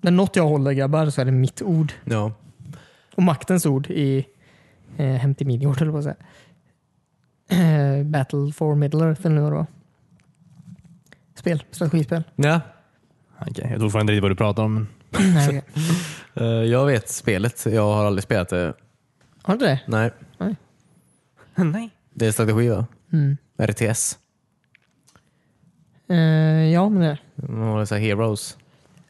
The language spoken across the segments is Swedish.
När något jag håller grabbar så är det mitt ord. Ja. Och maktens ord i eh, Hem till Midgård höll jag på att säga. Eh, Battle for Middle Earth eller vad det var. Spel, strategispel. ja. Okej, jag tror fortfarande inte riktigt vad du pratar om. Men, Nej, okej. Eh, jag vet spelet. Jag har aldrig spelat det. Har du inte det? Nej. Nej. Nej. Det är strategi va? Mm. RTS. Eh, ja, men det Man har så här heroes.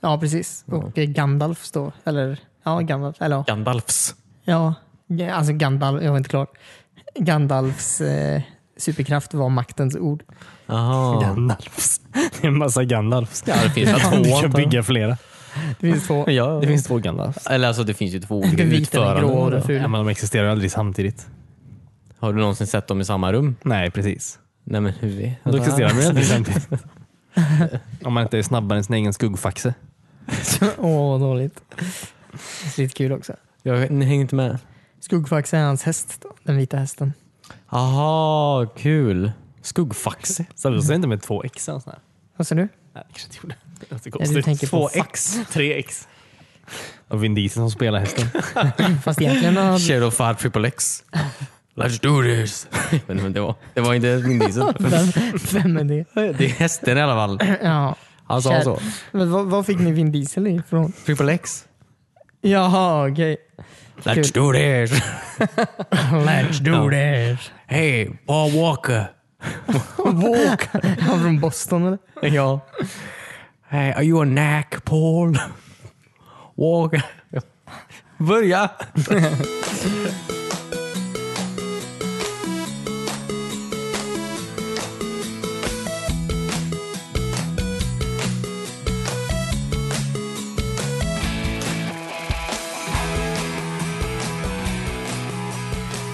Ja, precis. Och eh, Gandalf då. Eller ja, Gandalf. Eller ja. Gandalfs. ja, ja, alltså Gandalf. Jag var inte klar. Gandalfs eh, superkraft var maktens ord. Jaha. Gandalfs. Det är en massa Gandalfs. Ja, det finns väl två. Du kan antar jag. bygga flera. Det finns två. Ja. Det finns två Gandalfs. Eller alltså det finns ju två Den olika vita, den grå och utföranden. den Ja, fula. men de existerar aldrig samtidigt. Har du någonsin sett dem i samma rum? Nej, precis. Nej men hur vet Då existerar de aldrig samtidigt. Om man inte är snabbare än sin egen skuggfaxe. Åh, vad dåligt. Det är lite kul också. Jag ni hänger inte med. Skuggfax är hans häst, då, den vita hästen. Aha, kul. Skuggfaxe. Så du säger inte med två x eller sånt där? Vad sa du? Nej, det kanske inte gjorde. Det låter Ja, du tänker konstigt. på Två fax. x, tre x. Och Vin Diesel som spelar hästen. Fast egentligen har... Shadow Fire Triple X. Let's do this! Men, men det, var, det var inte Vin Diesel. Vem, vem är det? Det Alltså, är hästen i alla fall. Ja. Han sa Kär- så. Men vad, vad fick ni Vin Diesel ifrån? Triple X. Jaha, okej. Let's do this! Let's do this! Hey, Paul Walker! Walk! Han från Boston eller? Ja. Hey, are you a knack, Paul? Walker. Börja!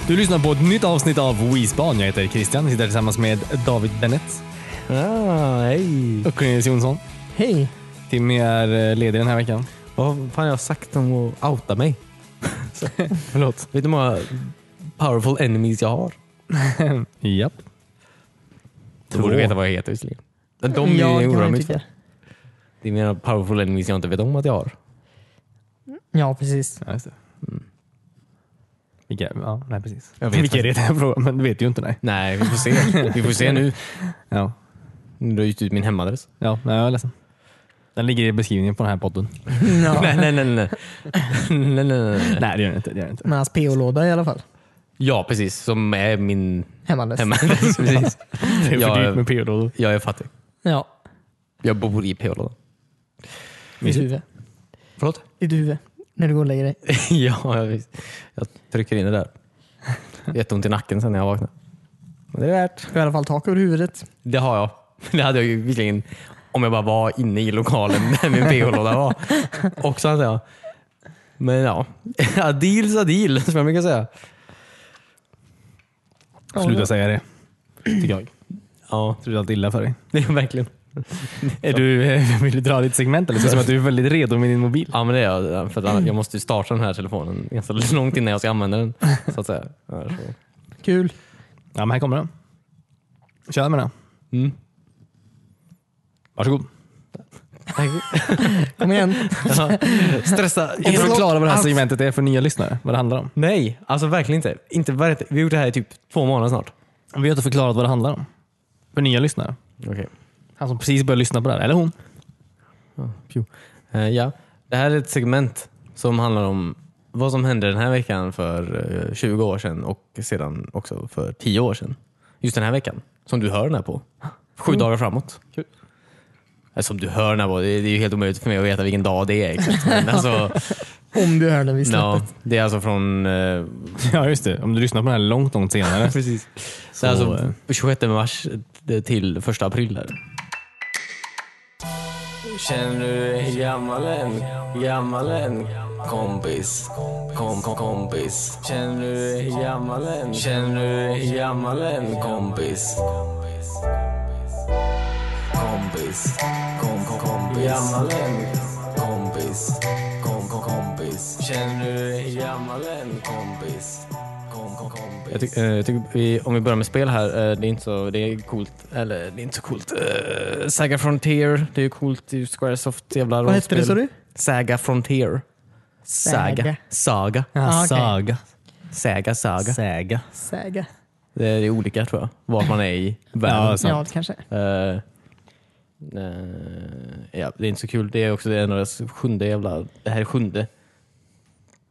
Du lyssnar på ett nytt avsnitt av Weesban. Jag heter Christian och sitter tillsammans med David Bennett Ah, hej! och Cornelius Jonsson. Hej! Timmy är eh, ledig den här veckan. Vad fan har jag sagt om att outa mig? Förlåt. Vet du hur många powerful enemies jag har? Japp. Du borde veta vad jag heter visserligen. Men De Ja, är det jag kan man oroar ju mig tycka. för. Det är mina powerful enemies jag inte vet om att jag har. Ja, precis. Ja, just det. Mm. Vilka, ja, nej, precis. Jag vet Vilka är det den här frågan? Men det vet du ju inte. Nej. Nej, vi får se. vi får se nu. Ja, Du har just ut min hemadress. ja nej, jag är ledsen. Den ligger i beskrivningen på den här podden. Ja. nej, nej, nej, nej. nej, nej, nej. Nej, det gör den inte. Det gör den inte. Med hans PO-låda i alla fall. Ja, precis. Som är min Hemmadress. hemadress. precis. Det är för Ja, dyrt med PO-lådor. Ja, jag fattar. Ja, Jag bor i PH-lådan. i ditt huvud. Förlåt? I ditt huvud. När du går och lägger dig. ja, jag, visst. jag trycker in det där. Jätteont i nacken sen när jag vaknar. Men det är värt. Du har i alla fall tak över huvudet. Det har jag. Det hade jag ju visserligen om jag bara var inne i lokalen där min PH-låda var. Också antar jag. Men ja, a deal's a deal som jag brukar säga. Sluta säga det. Tycker jag. Ja, Tror det är allt illa för dig. det är verkligen. Är du, vill du dra ditt segment eller? Det ser ut som att du är väldigt redo med din mobil. Ja men det är jag. För att jag måste ju starta den här telefonen ganska långt innan jag ska använda den. Så att säga. Ja, så. Kul. Ja, men här kommer den. Kör med den. Mm. Varsågod. Kom igen. Stressa. Kan du förklara vad det här Allt. segmentet är för nya lyssnare? Vad det handlar om? Nej, alltså verkligen inte. inte verkl- Vi har gjort det här i typ två månader snart. Vi har inte förklarat vad det handlar om. För nya lyssnare. Okay. Han som precis började lyssna på det här. Eller hon. Eh, ja. Det här är ett segment som handlar om vad som hände den här veckan för eh, 20 år sedan och sedan också för 10 år sedan. Just den här veckan, som du hör den här på. Sju Mm. dagar framåt. Kul. Eh, Som du hör den här på. Det det är ju helt omöjligt för mig att veta vilken dag det är. Exakt. Men alltså, Om du hör den vid no, släppet. det är alltså från eh, Ja, just det. Om du lyssnar på den här långt, långt senare. Precis. Så, det är alltså 26 mars eh, till 1 april. Där. Känner du dig gammal än? Gammal än? Kompis. Kom, kom, kompis. Känner du dig gammal än? Känner du dig gammal än? Kompis. Kompis. Kom, kom, kompis. Gammal än? Kompis. Kom, kom, kompis. Känner du dig gammal än? Kompis. Kom, kom, kompis. Jag tycker, eh, jag tycker vi, om vi börjar med spel här. eh, Det är inte så det är coolt. Eh, Eller det är inte så coolt. Uh, Saga Frontier. Det är ju coolt. Det är ju Squaresoft jävla Vad hette det sa rollspel. du? Saga Frontier. Saga. Saga. Saga. Ja, Ah, okej. Saga. Saga, saga. Säga. Saga. Det är olika tror jag, vart man är i världen. Ja, Ja, sant. det kanske. Eh, eh, ja, det är inte så kul. Det är också det är en av deras sjunde jävla... Det här är sjunde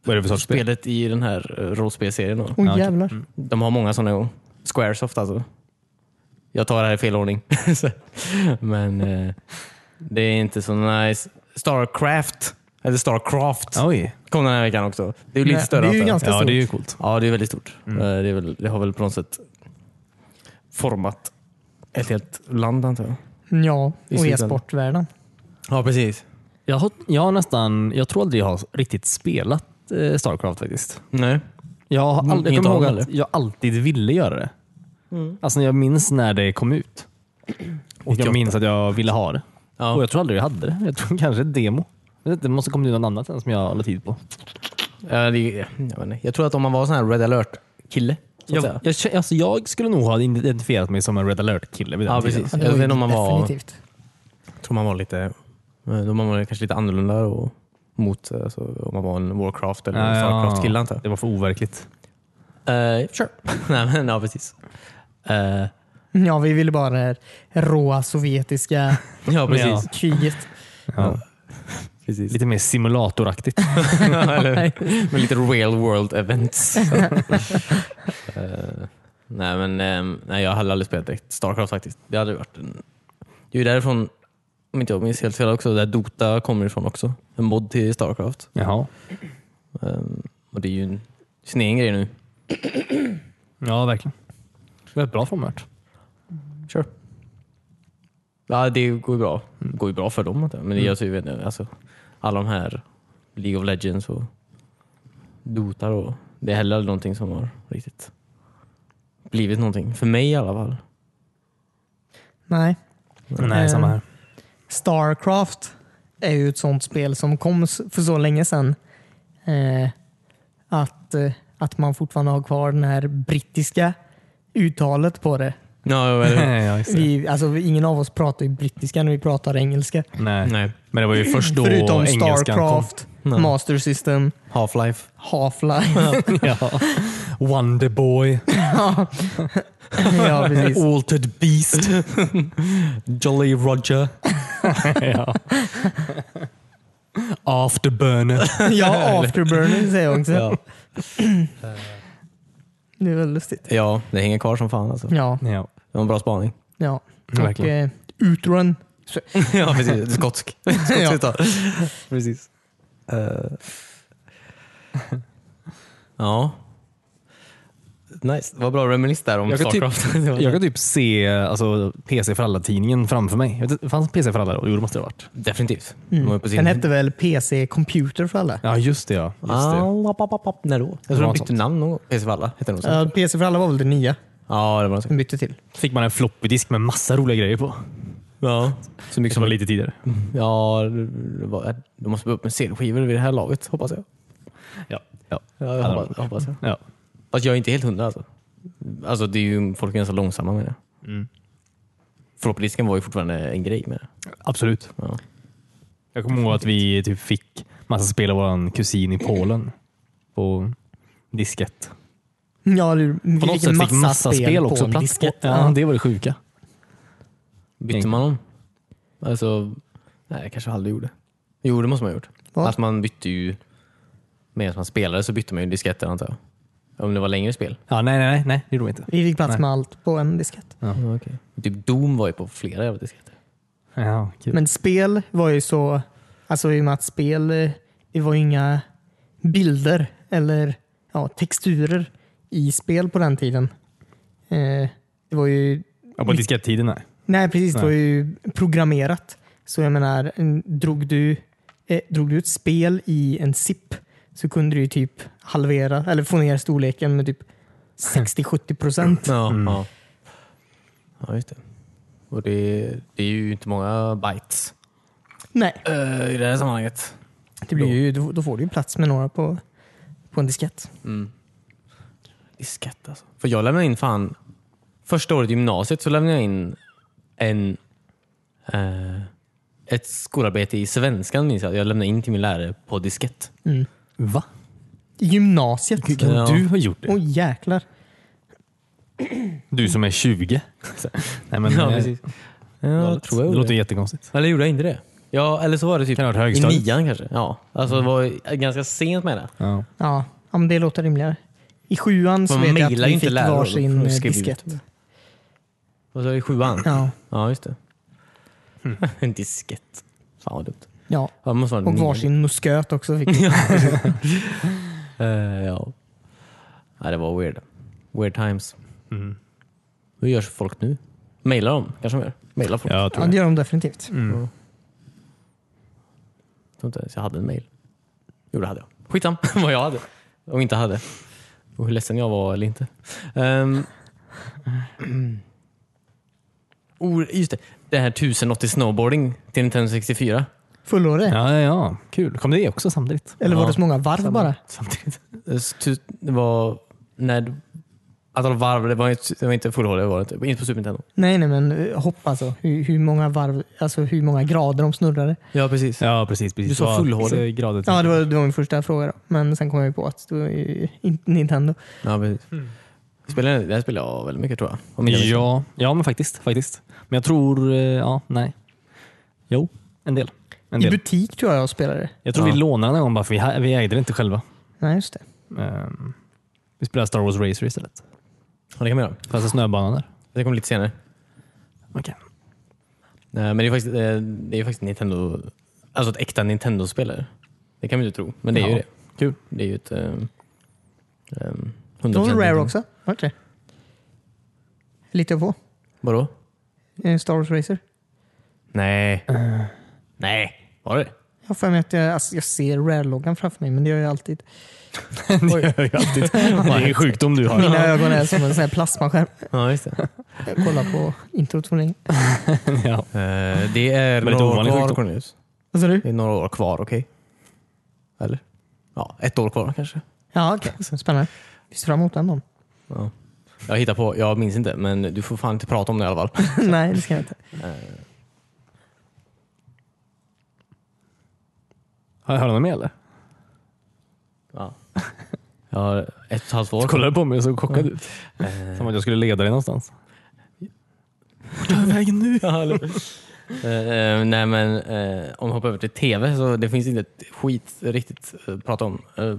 Vad är det för sorts spel? spelet i den här eh, rollspelserien. Då. Åh Ja, okej. jävlar. De har många sådana gånger. Squaresoft alltså. Jag tar det här i fel ordning. Så- Men eh, det är inte så nice. Starcraft, eller Starcraft, Oj. kom den här veckan också. Det är ju lite Nej, större. det är ju antar jag. ganska Mm. Ja, stort. det är ju coolt. Ja, det är väldigt stort. Eh, Det, är väl, det har väl på något sätt format ett helt land antar jag. Ja, I och slutändan. e-sportvärlden. Ja, precis. Jag har, jag har nästan, jag tror aldrig jag har riktigt spelat eh, Starcraft faktiskt. Nej. Jag, har Mm, all, jag inget kommer ihåg av dem, att jag alltid ville göra det. Mm. Alltså jag minns när det kom ut. Och jag 88. minns att jag ville ha det. Ja. Och jag tror aldrig jag hade det. Jag tror kanske ett demo. Jag vet inte, Det måste komma ut något annat än som jag la tid på. Ja, det, jag, vet inte. jag tror att om man var sån här Red alert-kille. så att säga. Jag, jag, kä- alltså jag skulle nog ha identifierat mig som en Red alert-kille vid den Ja, tiden. precis. Ja, det Jag var vet ju inte om man var- definitivt. tror man var lite, eh, då man var kanske lite annorlunda och mot eh, så om man var en Warcraft eller Ja, Starcraft-kille antar Det var för overkligt. jag. Eh, sure. Nej men ja precis. Eh, Ja, vi ville bara det här råa sovjetiska ja precis. Ja. kriget. Ja. precis. Lite mer simulatoraktigt. eller, med lite real world events. Eh, nej men ehm, nej, jag hade aldrig spelat direkt Starcraft faktiskt. Det hade ju varit en... Det är ju därifrån, om inte jag minns helt fel också, där Dota kommer ifrån också. En mod till Starcraft. Jaha. Ehm, och det är ju en sin egen grej nu. Ja, verkligen. Det var ett bra format. Sure. Ja, det går ju bra. Det går ju bra för dem. antar jag. Men jag ser ju vet inte, alltså, alla de här League of Legends och Dota och det är heller aldrig någonting som har riktigt blivit någonting. För mig i alla fall. Nej. Nej, samma här. Starcraft är ju ett sånt spel som kom s- för så länge sedan eh, att, eh, att man fortfarande har kvar det här brittiska uttalet på det. Ja, eller, ja, just det. Vi, alltså, ingen av oss pratar ju brittiska när vi pratar engelska. Nej. nej. Men det var ju först då Förutom engelskan Starcraft, Nej. Master System, Half-Life. Half-Life. kom. Ja. Wonderboy. ja, precis. Altered Beast. Jolly Roger. ja. Afterburner. Ja, Afterburner säger jag också. Ja. Det är väldigt lustigt. ja, det hänger kvar som fan alltså. Ja, ja. Det var en bra spaning. ja. Och Verkligen. Mm. eh, Utrun. Så- ja, precis. Skotsk. Ja. Skotskt ja. Precis. ja. Nice. Vad bra reminis där om Jag kan typ- Starcraft. Det var- Jag kan typ se alltså, PC för alla-tidningen framför mig. Jag vet inte, Fanns PC för alla då? Jo, det måste det ha varit. Definitivt. Mm. De var på sin- Den hette väl PC Computer för alla? Ja, just det. Ja. Just det. Ah, app, app, app. När då? Jag tror var de bytte sånt. namn någon gång. PC Valla hette den nog sen. Ja, PC för alla var väl det nya Ja, det var något sånt. den bytte till. Fick man en floppydisk med massa roliga grejer på. Ja. Så mycket som var lite tidigare. Ja, det var, de måste börja upp med CD-skivor vid det här laget, hoppas jag. Ja. Ja. Ja, jag hoppas, hoppas jag. ja. Fast jag är inte helt hundra alltså. Alltså, det är ju, folk är ganska långsamma med det. Mm. Floppydisken var ju fortfarande en grej med det. Absolut. Ja. Jag kommer ihåg att vi typ fick massa spel av vår kusin i Polen på diskett. Ja, du, vi På något sätt fick massa spel, också på plats på. disket. Ja, det var det sjuka. Bytte man dem? Alltså, nej jag kanske aldrig gjorde. Jo det måste man ha gjort. Vad? Att man bytte ju, medan man spelade så bytte man ju disketter antar jag. Om det var längre spel. Ja, nej, nej, nej, nej, det gjorde vi inte. Vi fick plats Nej. med allt på en diskett. Typ Doom var ju på flera jävla disketter. Ja, kul. Men spel var ju så, alltså i och med att spel, eh, det var ju inga bilder eller ja, texturer i spel på den tiden. Eh, det var ju, ja, på diskettiden, nej. nej precis, det var Nej. ju programmerat. Så jag menar, en- drog du, eh, drog du ett spel i en zip så kunde du ju typ halvera eller få ner storleken med typ 60-70 procent. Ja, ja. ja just det. Och det, det är ju inte många bytes Nej, eh, i det här sammanhanget. det blir ju, då då får du ju plats med några på, på en diskett. Mm. Diskett alltså. För jag lämnade in fan, första året i gymnasiet så lämnade jag in en eh, ett skolarbete i svenskan minns jag. Jag lämnade in till min lärare på diskett. Va? I Gymnasiet. Kan Ja. du ha gjort Åh det? jäklar. Du som är 20. Så- Nej, men, Ja, eh, precis. Ja, jag tror jag det gjorde låter det. jättekonstigt. Eller gjorde jag inte det? Ja, eller så var det typ Kan ha varit i högstadiet. nian kanske. Ja, alltså det var ganska sent med det. Ja. Ja, ja men det låter rimligare. I sjuan så Man vet jag att mailar ju vi inte fick lärare då, varsin för eh, att skriva diskett. ut. Vad sa du? I sjuan? Ja, Ja, just det. En diskett. Fan vad dumt. ja. Ja, det måste vara Och nian. varsin musköt också fick vi. Eh, ja. Nej, det var weird. Weird times. Hur gör folk nu? Mailar de? kanske de gör? Mailar folk? Jag Ja, tror det det. gör de definitivt. Mm. Jag tror inte ens jag hade en mail. Jo, det hade jag. Skitsamma vad jag hade och inte hade. Och hur ledsen jag var eller inte. Um, oh, just det. Det här 1080 snowboarding till Nintendo 64. Fullårig. Ja, ja, ja. Kul. Kom det också samtidigt? Eller var Ja. det så många varv bara? Samtidigt. Eh, s- tu- Det var när... Antal varv, det var inte, det var inte fullhålligt, det var det inte. Inte på Super Nintendo. Nej, nej, men eh, hopp alltså. Hur, hur många varv, alltså hur många grader de snurrade. Ja, precis. Ja, liksom. precis. precis. Du sa Det var fullhålig. vissa grader till. Ja, det var, det var min första fråga då. Men sen kom jag ju på att det var ju inte Nintendo. Ja, precis. Spelade, det här spelade jag väldigt mycket tror jag. Om inte jag minns Ja, ja men faktiskt, faktiskt. Men jag tror... eh, Ja, nej. Jo, en del. En I del. butik tror jag jag spelade. Jag tror vi Ja. lånade den en gång bara för vi, ha- vi ägde det inte själva. Nej, just det. Ehm, Vi spelade Star Wars Racer istället. fel. Ja, det kan man göra. Fanns det snöbana där? Det kommer lite senare. Okej. Nej, men det är faktiskt, eh, det är faktiskt Nintendo, alltså ett äkta Nintendo-spel. är det. Det kan man ju inte tro, men det är ju Ja. det. Kul. Det är ju ett... Um, um, Det var väl Rare också? Var det inte det? Litar jag på. Vadå? Eh, Star Wars Racer. Nej. Eh, Nej, var det Jag har för mig att jag, alltså, jag ser Rare-loggan framför mig, men det gör jag alltid. det? gör jag ju alltid. Det är en sjukdom du har. Mina ögon är som en sån här plasmaskärm. Ja, just det. Jag kollar på introt för länge. Ja. Eh, det är Men lite några år ovanlig kvar, sjukdom. Cornelius. Vad sa du? Det är några år kvar, okej? Eller? Ja, ett år kvar kanske. Ja, okej. Spännande. Vi ser fram emot den då. Ja. Jag hittar på, jag minns inte, men du får fan inte prata om det i alla fall. Nej, det ska jag inte. Har jag hört något mer eller? Ja. Jag har ett och ett halvt år Eh, Du kvar. kollade på mig och såg chockad ut. Som att jag skulle leda dig någonstans. Ja, eller- Eh, eh, nej men eh, om vi hoppar över till TV så det finns inte ett skit riktigt att prata om. Eh,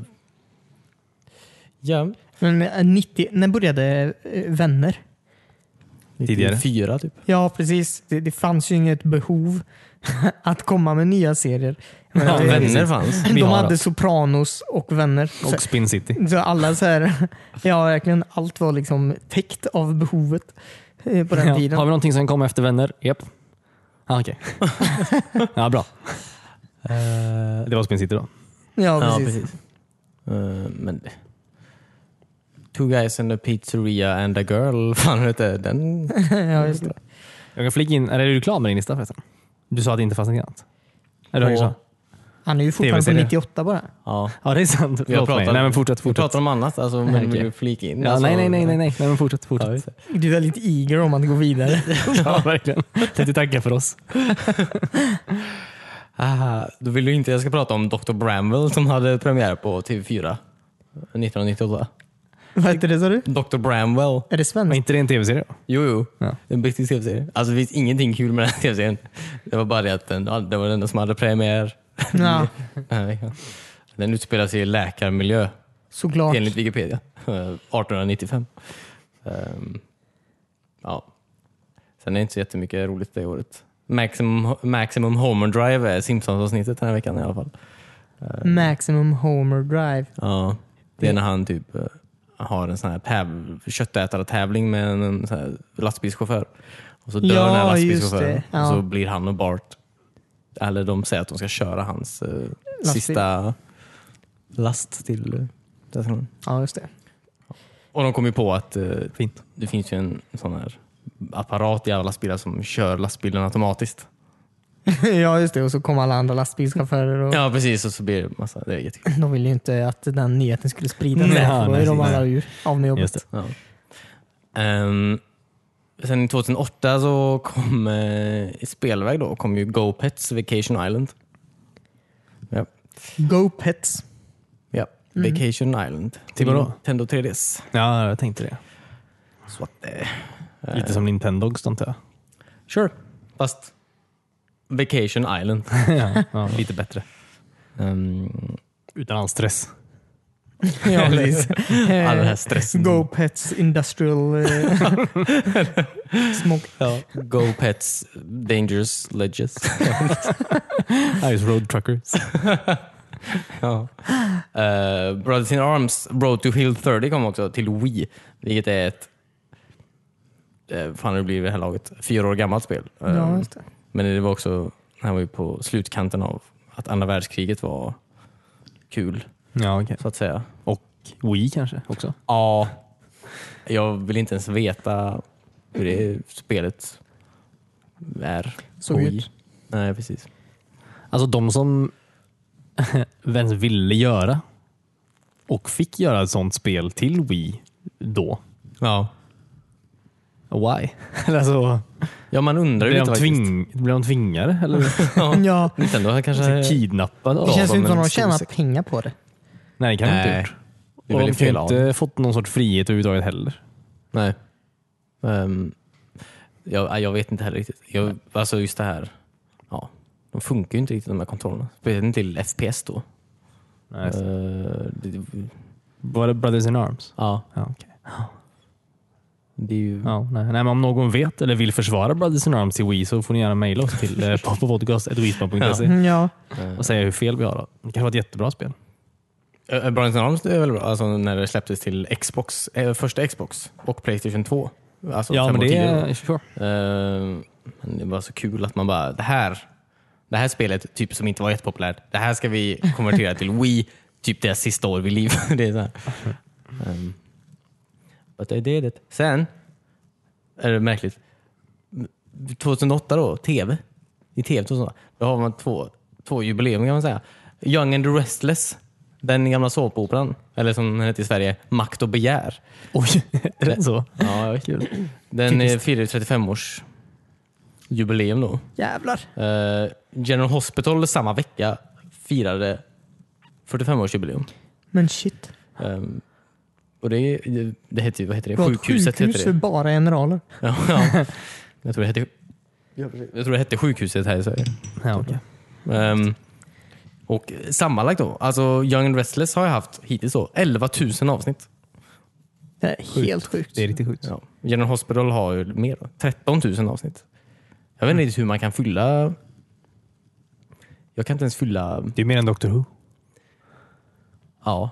ja, Men eh, 90, när började eh, Vänner? Tidigare. Fyra typ. Ja, precis. Det, det fanns ju inget behov att komma med nya serier. Jag menar, Ja, det- vänner fanns. Vi De har hade allt. Sopranos och Vänner. Och Så, Spin City. så alla så här, ja verkligen, allt var liksom täckt av behovet eh, på den Ja. Har vi tiden. någonting som kommer efter vänner? Japp. Ah, Okej. ja, bra. Eh, Det var Spin City då. Ja, Ja, precis. precis. Eh, men Two guys and a pizzeria and a girl. Fan vad heter den? ja, just det. Jag kan flika in, eller är du klar med din lista förresten? Du sa att det inte fanns något annat. Eller Ja. hur sa? Han är ju fortfarande på TV-serie. 98 bara. Ja. Ja, det är sant. Förlåt mig. Nej men fortsätt. Vi fortsätt. pratar om annat, alltså, men okej. vill du flika in? Ja, alltså, nej, nej, nej, nej, nej. nej men fortsätt. Ja, fortsätt. just det. Du är väldigt eager om att gå vidare. Ja, verkligen. Tänkte tacka för oss. Aha, då vill du inte jag ska prata om Dr. Bramwell som hade premiär på TV4 1998. Vad heter det sa du? Dr. Bramwell. Är det Var svenskt? inte det en tv-serie då? Jo, jo. Ja. En brittisk tv-serie. Alltså det finns ingenting kul med den här tv-serien. Det var bara det att den, ja, det var den enda som hade premiär Ja, den här veckan. Den utspelar sig i läkarmiljö såklart. enligt Wikipedia. eh, 1895. Ehm, ja. Sen är det inte så jättemycket roligt det året. Maximum, maximum Homer Drive är Simpsons-avsnittet den här veckan i alla fall. Ehm, Maximum Homer Drive. Ja, det är när han typ eh, har en sån här täv- köttätare-tävling med en, en sån här lastbilschaufför. Och så dör Ja, den här just lastbilschauffören det. Ja. och så blir han och Bart, eller de säger att de ska köra hans eh, sista last till eh, destinationen. Ja, just det. Och de kom ju på att eh, Fint. det finns ju en sån här apparat i alla lastbilar som kör lastbilen automatiskt. ja, just det. Och så kom alla andra lastbilschaufförer och Ja precis, och så blir det massa, det är jättekul. de ville ju inte att den nyheten skulle spridas. Nej, Nej, då är nej, de alla nej. ur, av med jobbet. Just det. Ja. Ehm, Sen 2008 så kom eh, i spelväg då, kom ju Go Pets Vacation Island. Ja. Go Pets. ja. Mm. Vacation Island. Till vadå? Nintendo 3DS. Ja, jag tänkte det. Så att, eh, Lite som Nintendogs antar jag. sure. Fast Vacation Island. ja, ja, lite bättre. Um, Utan all stress. Ja, precis. all den här Eh, stressen. Go Pets Industrial eh, Smoke. Ja. Go Pets Dangerous Ledges. Ice Road Truckers. Ja. Eh, Brothers in Arms Road to Hill 30 kom också till Wii, vilket är ett uh, fan det blir det här laget, fyra år gammalt spel. Eh, Ja, just det. Men det var också, han var ju på slutkanten av att andra världskriget var kul, Ja, okej. så att säga. Och Wii kanske också? Ja, jag vill inte ens veta hur det spelet är. Såg på ut. Wii. Nej, precis. Alltså de som ens ville göra och fick göra ett sånt spel till Wii då. Ja. Why? alltså, ja, man undrar ju blev, lite de faktiskt. tving, blev de tvingade? Eller Ja. Nintendo kanske... Alltså, kidnappade av Det känns dem ju inte som en att de stor tjänar säck? pengar på det. Nej, det kan de inte ha Nej. gjort. Det är Och de väldigt kan fel ju av inte fått någon sorts frihet överhuvudtaget heller. Nej. Ehm, jag, jag vet inte heller riktigt. Jag, alltså just det här. Ja, de funkar ju inte riktigt de här kontrollerna. Speciellt inte till FPS då. Nej, Eh, det, Var det Brothers in Arms? ja, Ja, okej. det är ju... ja, nej. Nej, men om någon vet eller vill försvara Brothers in Arms till Wii så får ni gärna mejla oss till eh, popopodcast.wisplan.se Mm, Ja. och säga hur fel vi har. Då. Det kanske var ett jättebra spel. Eh, Brian Arms det är väl bra? Alltså när det släpptes till Xbox, eh, första Xbox och Playstation 2. Alltså ja, fem men år det tidigare. är... Sure. Ehm, men det var så kul att man bara, det här, det här spelet typ som inte var jättepopulärt, det här ska vi konvertera till Wii, typ deras sista år vid liv. det är så här. Um, but I did it. Sen, är det märkligt, 2008 då, tv. I tv 2008, då har man två, två jubileum kan man säga. Young and the Restless, den gamla såpoperan, eller som den hette i Sverige, Makt och begär. Oj, är det så? Ja, Kul. den eh, firar 35-års jubileum då. Jävlar. Eh, General Hospital samma vecka firade 45-årsjubileum. Men shit. Eh, och det, det heter ju, vad heter det? Det var ett Sjukhuset sjukhus heter för det. bara generaler. Ja, ja. Jag tror det hette, jag tror det hette sjukhuset här i Sverige. Ja, okej. Ehm, och sammanlagt då, alltså Young and Restless har jag haft hittills då 11 000 avsnitt. Det är helt sjukt. Det är riktigt sjukt. Ja. General Hospital har ju mer, då, 13 000 avsnitt. Jag vet inte riktigt hur man kan fylla... Jag kan inte ens fylla... Det är mer än Doctor Who. Ja.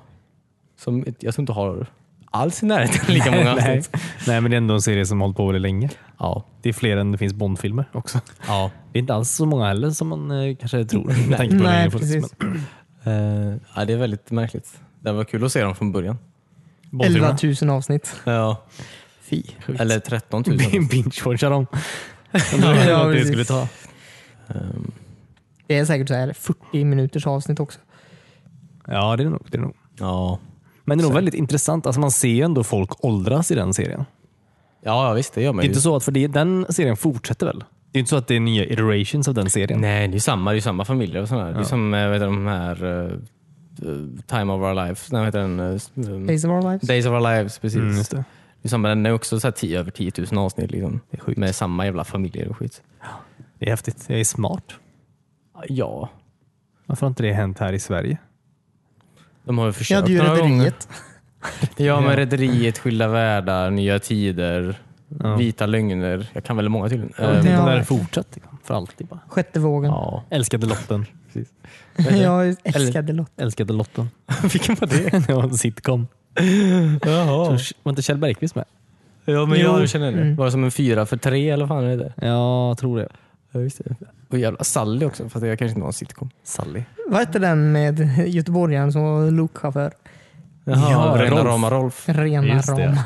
Som, ett- jag tror inte har alls i närheten lika många nej. avsnitt. nej, men det är ändå en serie som har hållit på väldigt länge. Ja. Det är fler än det finns Bondfilmer också. ja. Det är inte alls så många heller som man eh, kanske tror. Med tanke på hur länge Nej, det funnits, precis. Eh, ja. Det är väldigt märkligt. Det var kul att se dem från början. men 11 Bondfilmerna. 000 avsnitt. Ja. Fy. Eller 13 000. Binge-watchar dem. Ja, ja, det precis. skulle ta. Det är säkert så här 40 minuters avsnitt också. Ja, det är nog. Det är nog. Ja. Men det är nog väldigt intressant. Alltså man ser ju ändå folk åldras i den serien. ja, ja, visst det gör man Det är ju. inte så att, för det, den serien fortsätter väl? Det är inte så att det är nya iterations av den serien? Nej, det är ju samma, det är ju samma familjer och sådär. Det är som eh, vet du, de här eh, eh, Time of Our Lives, nej, vad heter den? eh, s- eh, Days of our lives. Days of Our Lives, precis. Mm, just det. Det är samma, Liksom, den är också så här 10, över 10 000 avsnitt liksom. Det är sjukt. Med samma jävla familjer och skit. det är häftigt. Jag är smart. Ja, Varför har inte det hänt här i Sverige? de har ju Ja, försökt du är några gånger. rederiet. Ja, Ja. men Rederiet, Skilda Världar, Nya Tider, Ja. Vita Lögner. Jag kan väldigt många tydligen. det Ehm, har- Den där har fortsatt liksom, för alltid. Bara. Sjätte vågen. ja. Älskade lotten. Jag älskade Lotta. Älskade lotten. Vilken var det? det var en sitcom. Jaha. Så, var inte Kjell Bergqvist med? Ja, men Jo. jag känner det. Mm. Var det som en fyra för tre eller vad fan är det? Ja, jag tror det. Ja, just det. Och jävla Sally också, fast jag kanske inte var en sitcom. Sally. Vad hette den med göteborgaren som var lokchaufför? Ja, Rena Rolf. rama Rolf. Rena Just det. rama.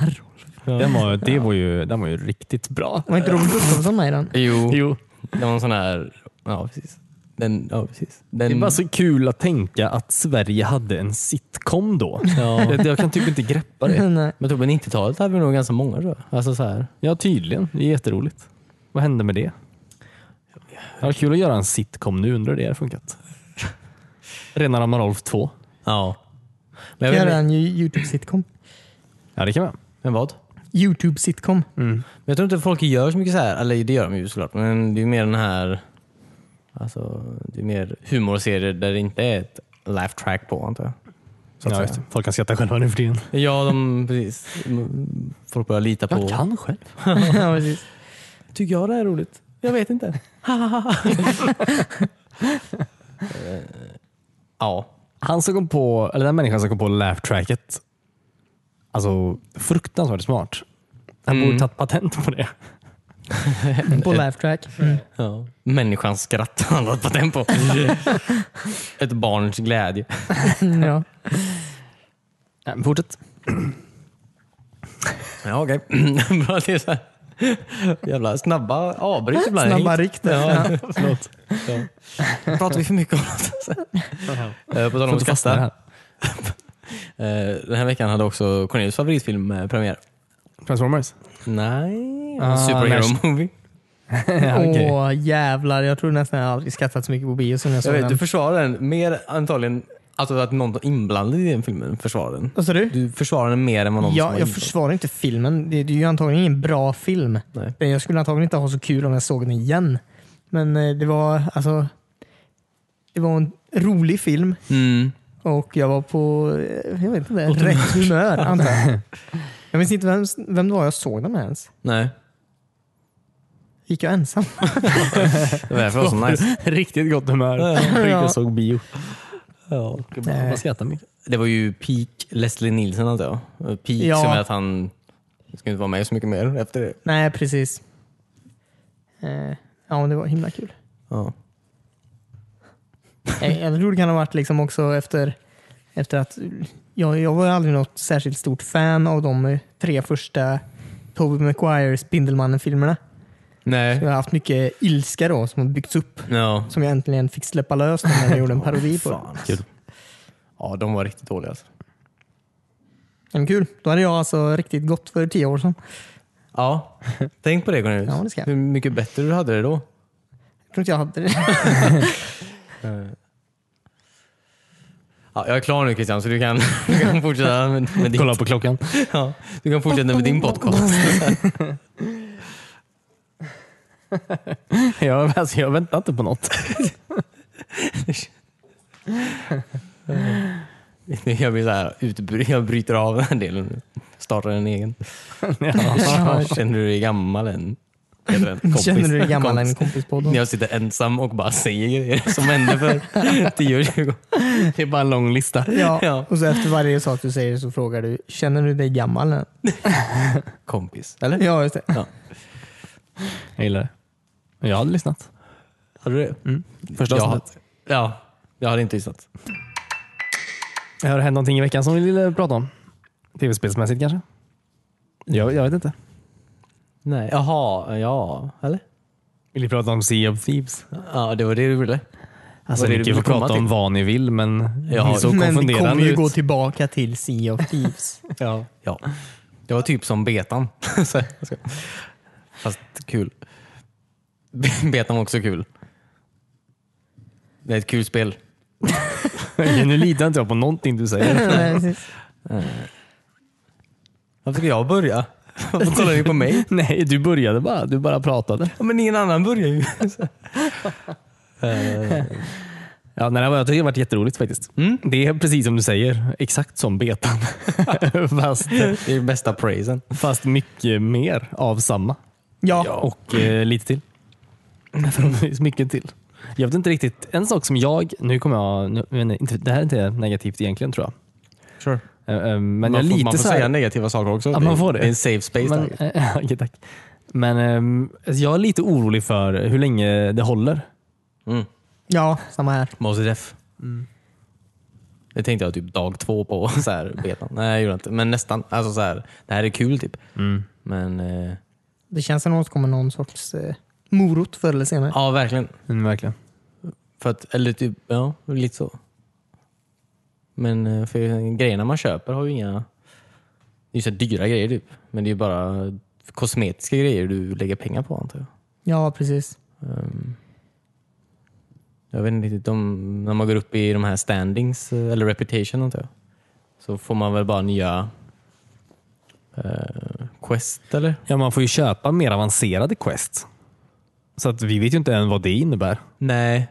Den var, det var ju, den var ju riktigt bra. Var inte Robert Gustafsson med i den? Jo, Jo. det var en sån här... Ja, precis. Den, ja, precis. Den, Det är bara så kul att tänka att Sverige hade en sitcom då. Jag, jag kan typ inte greppa det. Nej. Men tror på 90-talet hade vi nog ganska många tror jag. Alltså så här. Ja, tydligen. Det är jätteroligt. Vad hände med det? Det var kul att göra en sitcom nu. Undrar hur det har funkat. Rena rama Rolf 2. Ja. Men, Jag jag gör vet, inte- en YouTube-sitcom. Ja, det kan man. men vad? YouTube-sitcom. Men jag tror inte folk gör så mycket så här. Eller det gör de ju såklart. Men det är mer den här... Alltså, det är mer humorserier där det inte är ett laugh track på antar jag. Så att Ja, säga. just det. folk kan skratta själva nu för tiden. Ja, de, precis. Mm, Folk börjar lita på... Jag kan själv. ja, precis. Tycker jag det är roligt? Jag vet inte. Eh, ja. Han som kom på, eller den människan som kom på laugh tracket. Alltså fruktansvärt smart. Han borde tagit patent på det. På laugh track. Mm. ja. Människans skratt har han tagit patent på. Ett barns glädje. Mm, Ja. Ja, men fortsätt. Ja, okej. Bra att det är så här. Jävla snabba avbryt ibland. Snabba ryck där. Ja, förlåt. Ja. Pratar vi för mycket om något? Eh, På tal om att fastna i skratta. det här. eh, Den här veckan hade också Cornelius favoritfilm eh, premiär. Transformers. Nej, Ah, Superhero Nash- Movie. okej. Åh jävlar, jag tror nästan jag aldrig skrattat så mycket på bio som jag Jag såg vet, du den. försvarar den mer antagligen, alltså att någon var inblandad i den filmen försvarar den. Vad sa du? Du försvarar den mer än vad någon som Ja, var jag inblandad. försvarar inte filmen. Det det är ju antagligen ingen bra film. Nej. Men Jag skulle antagligen inte ha så kul om jag såg den igen. Men eh, det var alltså det var en rolig film Mm. och jag var på eh, jag vet inte, rätt humör antar jag. Jag minns inte vem, vem det var jag såg den med ens. Nej, Gick jag ensam? det var därför det var så nice. Riktigt gott humör. Ja. Riktigt såg bio. Ja. Nej. Man skrattar mycket. Det var ju peak Leslie Nielsen antar jag. Peak Ja. som är att han ska inte vara med så mycket mer efter det. Nej, precis. Eh, Ja, men det var himla kul. Ja. Eh, Jag tror det kan ha varit liksom också efter, efter att jag, jag var ju aldrig något särskilt stort fan av de eh, tre första Tobey Maguire Spindelmannen-filmerna. Nej. Jag har haft mycket ilska då som har byggts upp Ja. som jag äntligen fick släppa lös när jag gjorde en parodi på. Fan. alltså. Ja, de var riktigt dåliga alltså. Men kul, då hade jag alltså riktigt gått för tio år sedan. Ja, tänk på det Cornelius. Ja, det ska jag. Hur mycket bättre du hade det då. Jag tror inte jag hade det. Ja, jag är klar nu Christian, så du kan, du kan fortsätta med, med din Kolla på klockan. Ja, du kan fortsätta med din podcast. Jag, alltså, jag väntar inte på något. Jag blir så här utbry- jag bryter av den här delen nu. Startar en egen. Känner du dig gammal än? Heter den. Kompis. Känner du dig gammal än Kompis. kompispodden? När jag sitter ensam och bara säger grejer som hände för 10-20 år. Det är bara en lång lista. Ja, Ja. och så efter varje sak du säger så frågar du, känner du dig gammal än? Kompis. Eller? Ja, just det. Jag gillar det. Jag hade lyssnat. Hade du det? Första ja. avsnittet. ja, jag hade inte lyssnat. Har det hänt någonting i veckan som vi ville prata om? Tv-spelsmässigt kanske? Jag, jag vet inte. Nej. Jaha, ja. Eller? Vill ni prata om Sea of Thieves? Ja, det var det du ville. Alltså, Vad är det ni du kan vill få komma prata om till? vad ni vill, men Ja, ni såg Men vi kommer konfunderande ju ut. gå tillbaka till Sea of Thieves. Ja. Ja. Det var typ som betan. Så jag ska- Fast kul. Betan var också kul. Det är ett kul spel. Nu litar inte jag på någonting du säger. Nej, precis. Varför ska jag börja? Varför kollar ni på mig? Nej, du började bara. Du bara pratade. Ja, men ingen annan börjar ju. Ja, nej, det var- jag tycker det har varit jätteroligt faktiskt. Mm? Det är precis som du säger. Exakt som betan. fast, Det är ju bästa praisen. fast mycket mer av samma. Ja, Och eh, lite till. Förhoppningsvis mycket till. Jag vet inte riktigt. En sak som jag... Nu kommer jag... Nu, men inte, det här är inte negativt egentligen tror jag. Sure. Eh, eh, Men Man, jag är får, lite man får så här, säga negativa saker också. Ja, man får det. det är en safe space. men, där. eh, okej, tack. Men ehm, alltså, jag är lite orolig för hur länge det håller. Mm. ja, samma här. Mos Def. Det tänkte jag typ dag två på så här, betan. Nej, jag gjorde inte. Men nästan. Alltså, så här, det här är kul typ. Men eh, Det känns som att det kommer någon sorts eh, morot förr eller senare. ja, verkligen. Mm, verkligen. För att, eller typ, ja, lite så. Men eh, för grejerna man köper har ju inga... Det är ju så här dyra grejer typ. Men det är ju bara kosmetiska grejer du lägger pengar på antar jag. Ja, precis. Ehm, jag vet inte riktigt om, när man går upp i de här standings eh, eller reputation antar jag. Så får man väl bara nya eh, quest eller? Ja, man får ju köpa mer avancerade quest. Så att vi vet ju inte än vad det innebär. Nej.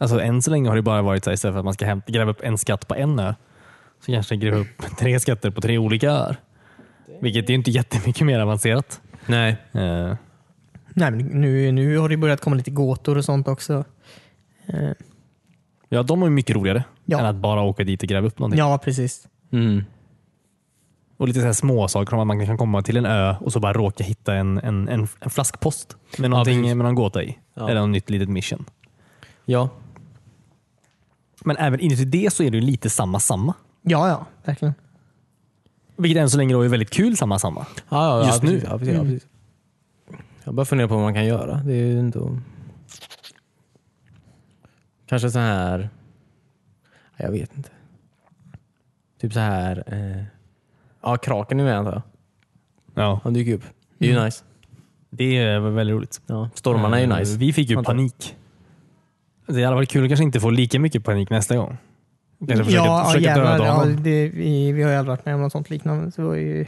Alltså än så länge har det bara varit så här, istället för att man ska hämta- gräva upp en skatt på en ö, så kanske den gräver upp tre skatter på tre olika öar. Vilket är ju inte jättemycket mer avancerat. Nej. Eh, Nej, men nu, nu har det börjat komma lite gåtor och sånt också. Eh, Ja, de har ju mycket roligare Ja. än att bara åka dit och gräva upp någonting. ja, precis. Mm. Och lite så här småsaker om att man kan komma till en ö och så bara råka hitta en, en, en, en flaskpost med, någonting, precis. med någon gåta i. Ja. Eller något nytt litet mission. Ja. Men även inuti det så är det ju lite samma samma. Ja, ja, verkligen. Vilket än så länge då är väldigt kul samma samma. Ja, ja, Just ja, nu. precis, Ja, precis, ja, precis. Mm. Jag bara funderar på vad man kan göra. Det är ju ändå... Kanske så här... Ja, Jag vet inte. Typ så här... Eh... Ja, kraken är med antar jag. Ja. Han dyker upp. Det är ju nice. Det är väldigt roligt. Ja. Stormarna är ju Eh, nice. Vi fick ju Antar- panik. Alltså, Det hade varit kul att kanske inte få lika mycket panik nästa gång. Eller försöka, ja, försöka jävlar, döda ja, honom. det, vi, vi har ju aldrig varit med om något sånt liknande. Så det var ju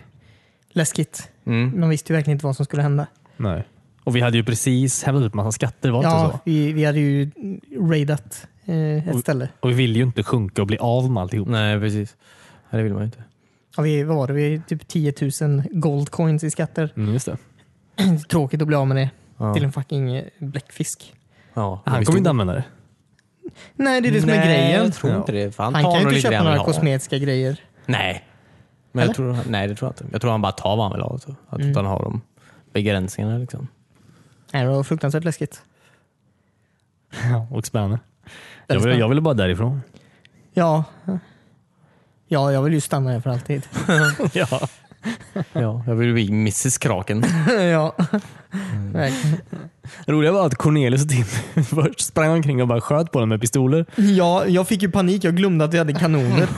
läskigt. Mm. De visste ju verkligen inte vad som skulle hända. Nej. Och vi hade ju precis hämtat upp massa skatter, var det inte så? Ja, vi, vi hade ju raidat eh, ett Och- ställe. Och vi ville ju inte sjunka och bli av med alltihop. Nej, precis. Ja, det vill man ju inte. Ja, vi, vad var det? Vi typ 10 000 gold coins i skatter. Mm, just det. Tråkigt att bli av med det Ja. till en fucking eh, bläckfisk. Ja, Han kommer inte använda det. Nej, det är det som är grejen. jag tror inte det. För han, Han tar kan ju nog inte lite köpa det han vill några ha. kosmetiska grejer. Nej. Men jag tror, nej, det tror jag inte. Jag tror han bara tar vad han vill ha. Så. Att Mm. han har de begränsningarna. Liksom. Nej, det var fruktansvärt läskigt. Och spännande. Jag Väldigt ville, spännande. jag ville bara därifrån. Ja. ja, jag vill ju stanna här för alltid. ja. Ja, jag vill bli Mrs Kraken. ja. Verkligen. Det roliga var att Cornelius och Tim först sprang omkring och bara sköt på dem med pistoler. ja, jag fick ju panik. Jag glömde att jag hade kanoner.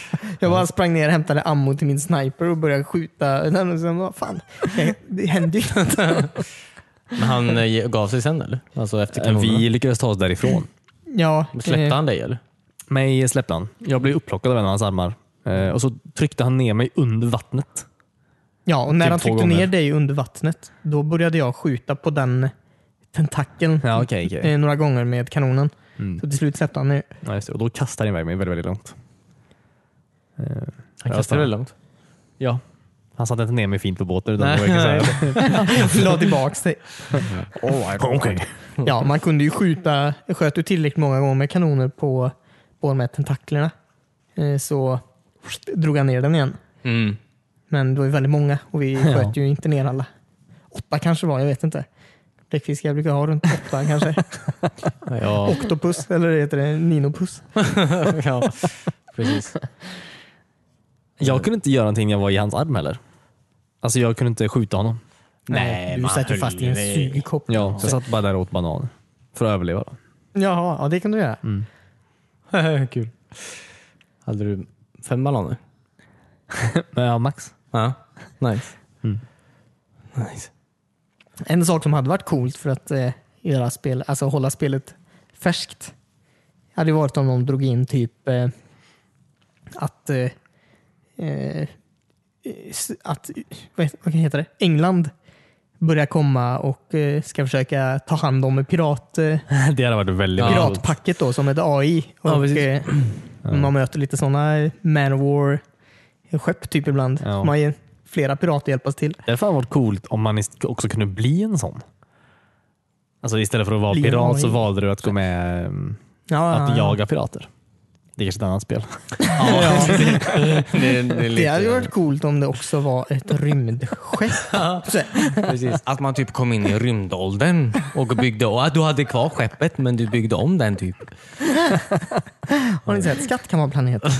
jag bara sprang ner och hämtade ammo till min sniper och började skjuta. Och sen, vad fan, det, det hände ju inte. Men han eh, ge- gav sig sen eller? Alltså Eh, efter kanonerna? Vi lyckades ta oss därifrån. ja, Släppte eh, han dig eller? Mig släppte han. Jag blev upplockad av en av hans armar. Eh, Och så tryckte han ner mig under vattnet. Ja, och när Typ han två tryckte gånger. ner dig under vattnet, då började jag skjuta på den tentakeln Ja, okej. Okay, eh, några gånger med kanonen. Mm. Så till slut släppte han mig. ja, just det. Och då kastade han iväg mig väldigt, väldigt långt. Eh, Han Ja, kastade fan. väldigt långt. Ja. Han satte inte ner mig fint på båten. Utan Nej. det var verkligen så här- La tillbaks dig. Okej. Ja, man kunde ju skjuta, sköt du tillräckligt många gånger med kanoner på, på de här tentaklerna eh, så drog han ner den igen. Mm. Men det var ju väldigt många och vi Ja. sköt ju inte ner alla. Åtta kanske var, jag vet inte. Bläckfiskar brukar ha runt åtta kanske. Ja, Oktopus, eller heter det ninopus? ja, precis. Jag kunde inte göra någonting när jag var i hans arm heller. Alltså jag kunde inte skjuta honom. du man satt ju höll fast i en dig. sugkopp. Ja, så jag satt bara där och åt banan. För att överleva. Då. Jaha, ja, det kan du göra. Kul. Hade du fem bananer? Men ja, Max. Ja. Nice. Mm. Nice. En sak som hade varit coolt för att eh, göra spel, alltså hålla spelet färskt hade ju varit om de drog in typ eh, att, eh, eh, s- att vad heter- vad heter det? England börjar komma och eh, ska försöka ta hand om pirat, eh, Det hade varit väldigt bra. piratpacket då, som heter AI. Ja, Och, precis. eh, man möter lite sådana man of war skepp typ ibland. Ja. Så Man är flera pirater hjälpas till. Det hade fan varit coolt om man ist- också kunde bli en sån. Alltså istället för att vara Bli Ah. en pirat så AI. valde du att gå med ehm, Ja, ja, att ja. jaga pirater. Det är kanske ett annat spel. Ja. det, är- är Det lite- hade ju varit coolt om det också var ett rymdskepp. Så här, Precis. Att man typ kom in i rymdåldern och byggde och att Du hade kvar skeppet men du byggde om den typ. Har ni sett? Skatt kan vara planeten.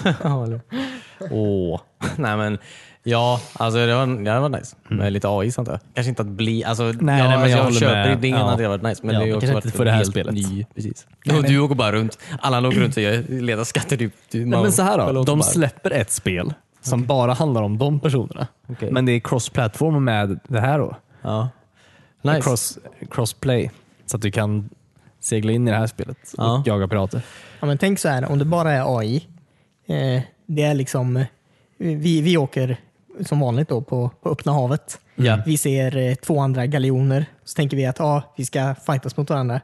Åh. Nej men Ja, alltså det var, ja, det var nice. Med lite AI sånt där. Kanske inte att bli... Alltså, nej, Mm. nej, men alltså, jag jag, håller köper med. idén Ja. att det har varit nice, men Ja, det har ju men också kanske varit inte för det här helt spelet. Ny, precis. och du åker bara runt. Alla åker runt och jag letar skatter. Du, du, Nej, man- men så här själv då. åker De bara. släpper ett spel som bara handlar om de personerna. Okej. Men det är cross-platform med det här då. Ja. Nice. Cross, crossplay. Så att du kan segla in i det här spelet och Ja. jaga pirater. Ja, men tänk så här, om det bara är AI. Eh, det är liksom, eh, vi, vi åker som vanligt då på, på öppna havet. Ja. Vi ser eh, två andra galjoner. Så tänker vi att ah, vi ska fightas mot varandra.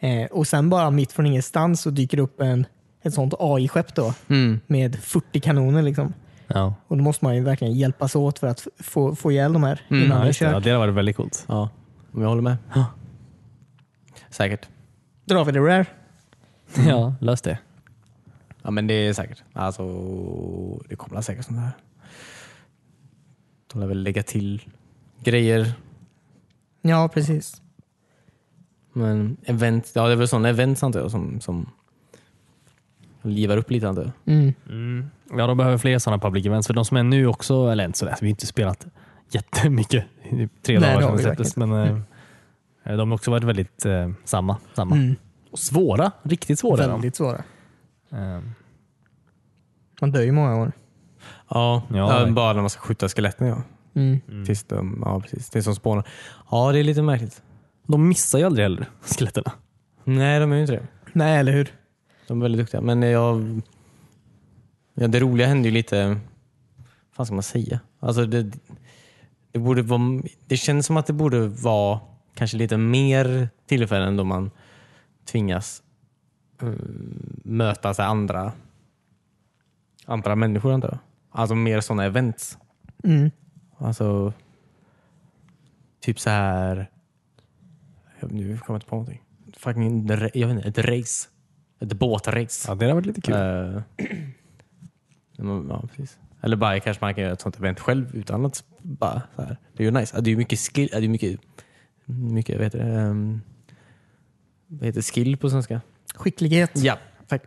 Eh, och sen bara mitt från ingenstans så dyker det upp en, ett sånt AI-skepp då. Mm. Med 40 kanoner liksom. Ja. Och då måste man ju verkligen hjälpas åt för att f- få, få ihjäl de här innan Mm, Ja, det är just det. Ja, kört. det hade varit väldigt coolt. Ja, om jag håller med. Säkert. Drar vi det rare? Ja, lös det. Ja men det är säkert. Alltså, det kommer säkert sånt här. De lär väl lägga till grejer. Ja, precis. Men event, ja det är väl sådana events antar jag som, som livar upp lite antar jag. Mm. Ja, de behöver fler sådana public events. För de som är nu också, eller inte sådär, vi har inte spelat jättemycket. Det är Tre Nej, det dagar har sedan vi det släpptes. Men eh, de har också varit väldigt eh, samma. samma. Mm. Och svåra. Riktigt svåra är de. Väldigt svåra. Eh, Man dör ju många år. Ja, Ja, ja bara när man ska skjuta skeletten ja. Mm. Tills de, ja precis, det som spånar. Ja det är lite märkligt. De missar ju aldrig heller skeletterna. Nej de är ju inte det. Nej, eller hur? De är väldigt duktiga. Men jag... Ja, det roliga hände ju lite... Vad fan ska man säga? Alltså det, det, borde vara, det känns som att det borde vara kanske lite mer tillfällen då man tvingas mm, möta sig andra, andra människor antar jag. Alltså mer sådana events. Mm. Alltså typ så här. jag- Nu kommer jag inte på någonting. Fucking, jag vet inte, ett race. Ett båtrace. Ja, det hade varit lite kul. Eh, men, ja, precis. Eller bara kanske man kan göra ett sånt event själv utan att bara så här. Det är ju nice. Ja, Det är ju mycket skill, ja, det är mycket, mycket vad heter det? Ehm, vad heter skill på svenska? Skicklighet. Ja, tack.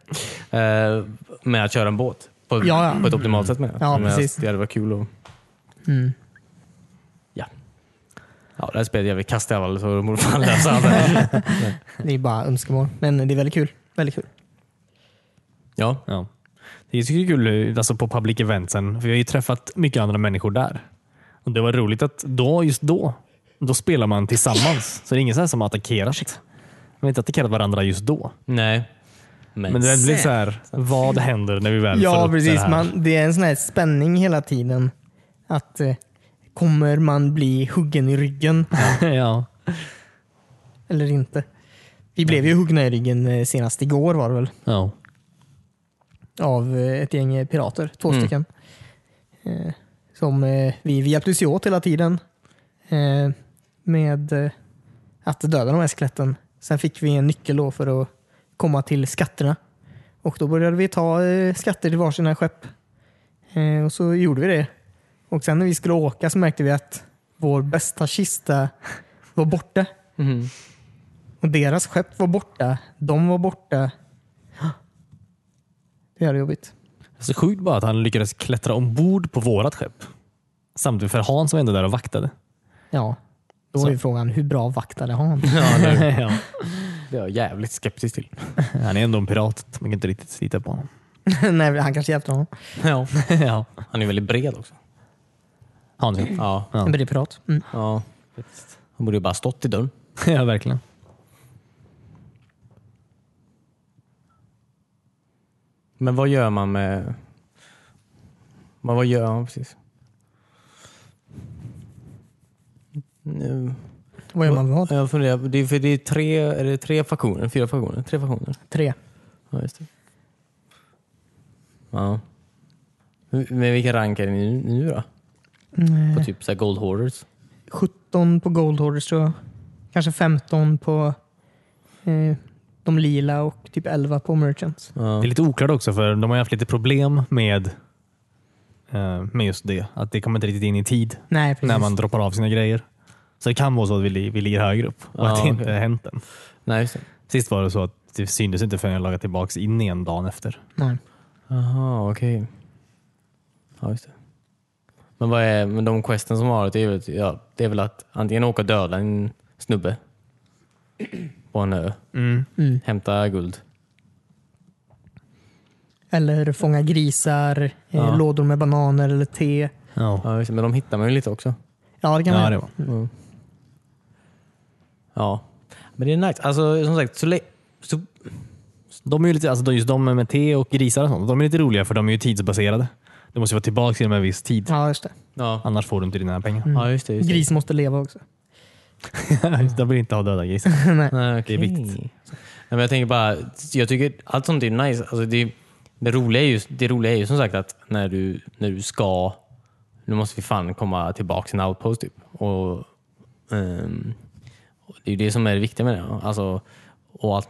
Eh, med att köra en båt på, Ja, ja. på ett optimalt sätt med. Ja, precis. alltså, Det hade varit kul och, Mm. ja. Ja, det här spelet är jävligt kasst i alla fall så de borde fan lösa allt det här. Det är bara önskemål. Men det är väldigt kul. Väldigt kul. Ja, Ja. Det är så kul alltså på public eventsen, för jag har ju träffat mycket andra människor där. Och Det var roligt att då, just då, då spelar man tillsammans. Så det är ingen så här som har attackerat. Man har inte attackerat varandra just då. nej. Men, Men det blir sen- så här, vad händer när vi väl får Ja, upp det precis. här? Man, det är en sån här spänning hela tiden. Att eh, kommer man bli huggen i ryggen ja. eller inte? Vi blev Mm. ju huggna i ryggen eh, senast igår var det väl. Ja. Av eh, ett gäng eh, pirater. Två Mm. stycken. Eh, som eh, vi, vi hjälptes ju åt hela tiden. Eh, med eh, att döda de här skeletten. Sen fick vi en nyckel då för att komma till skatterna. Och då började vi ta eh, skatter till varsina skepp. Eh, och så gjorde vi det. Och sen när vi skulle åka så märkte vi att vår bästa kista var borta. Mhm. Och deras skepp var borta. De var borta. Det är jobbigt. Så sjukt bara att han lyckades klättra ombord på vårat skepp. Samtidigt för Hans var ändå där och vaktade. Ja, då Så. är ju frågan hur bra vaktade han? ja. Det är jag jävligt skeptisk till. Han är ändå en pirat. Man kan inte riktigt slita på honom. Nej, han kanske hjälpte honom. Ja. ja. Han är väldigt bred också. Hans ja. Ja. Ja. En pirat. Mm. ja. Han borde ju bara stått i dörren. ja, verkligen. Men vad gör man med... Men vad gör man precis? Nu. Vad gör man med vad? Jag funderar, det är, för det är tre, är det tre faktioner, fyra faktioner, tre faktioner. Tre. Ja, just det. Ja. Men vilka rank är ni nu- nu då? På typ så här gold hoarders? 17 Mm. på Gold Hoarders tror jag. Kanske 15 på eh, de lila och typ 11 på Merchants. Ja. Det är lite oklart också för de har ju haft lite problem med, eh, med just det. Att det kommer inte riktigt in i tid Nej, precis. när man droppar av sina grejer. Så det kan vara så att vi, li- vi ligger högre upp och Ja, att det inte okej. har hänt än. Nej, just det. Sist var det så att det syntes inte förrän jag lagade tillbaks in igen dagen efter. Nej. Jaha, okej. Ja, just det. Men, vad är, men de questen som har det är, väl- ja, det är väl att antingen åka och döda en snubbe på en ö, Mm. hämta guld. Eller fånga grisar, eh, Ja. lådor med bananer eller te. Ja. Ja, just det, men de hittar man ju lite också. Ja, det kan man Ja, göra. det var. Ja, men det är nice. Alltså som sagt, så, le- så De är ju lite, alltså just de med te och grisar och sånt, de är lite roliga för de är ju tidsbaserade. Du måste ju vara tillbaka inom en viss tid, Ja, just det. ja. annars får du inte dina Mm. pengar. ja, just det. Just det. Gris måste leva också. De vill inte ha döda grisar. Nej. Nej, Det är viktigt. Nej, men jag tänker bara, jag tycker allt sånt är nice. Alltså det, det, roliga är ju, det roliga är ju som sagt att när du, när du ska, nu måste vi fan komma tillbaka till en outpost typ. Och, ehm, och det är ju det som är det viktiga med det. Alltså, och allt,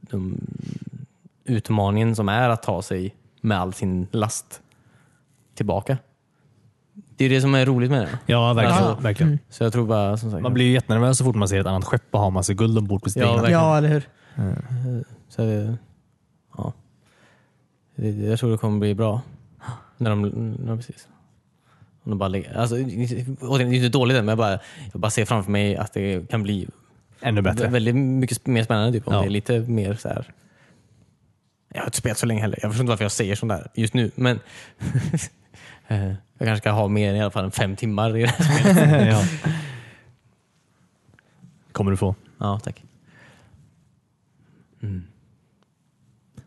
de, utmaningen som är att ta sig med all sin last tillbaka. Det är ju det som är roligt med det. Ja, verkligen. Ja. Mm. verkligen. Så jag tror bara som sagt. Man blir ju jättenervös så fort man ser ett annat skepp och har massa guld ombord på sitt Ja, egna. verkligen. Ja, eller hur? Så det, ja. Det, det- jag tror det kommer bli bra. När de, när precis. Om de bara lägger, alltså, återigen, det är inte dåligt än, men jag bara, jag bara ser framför mig att det kan bli Ännu bättre. vä- väldigt mycket sp- mer spännande. Typ, om Ja. det är lite mer så här. Jag har inte spelat så länge heller. Jag förstår inte varför jag säger sånt där just nu. Men eh, jag kanske ska ha mer än i alla fall än fem timmar i det här spelet. ja. Kommer du få. Ja, tack. Mm.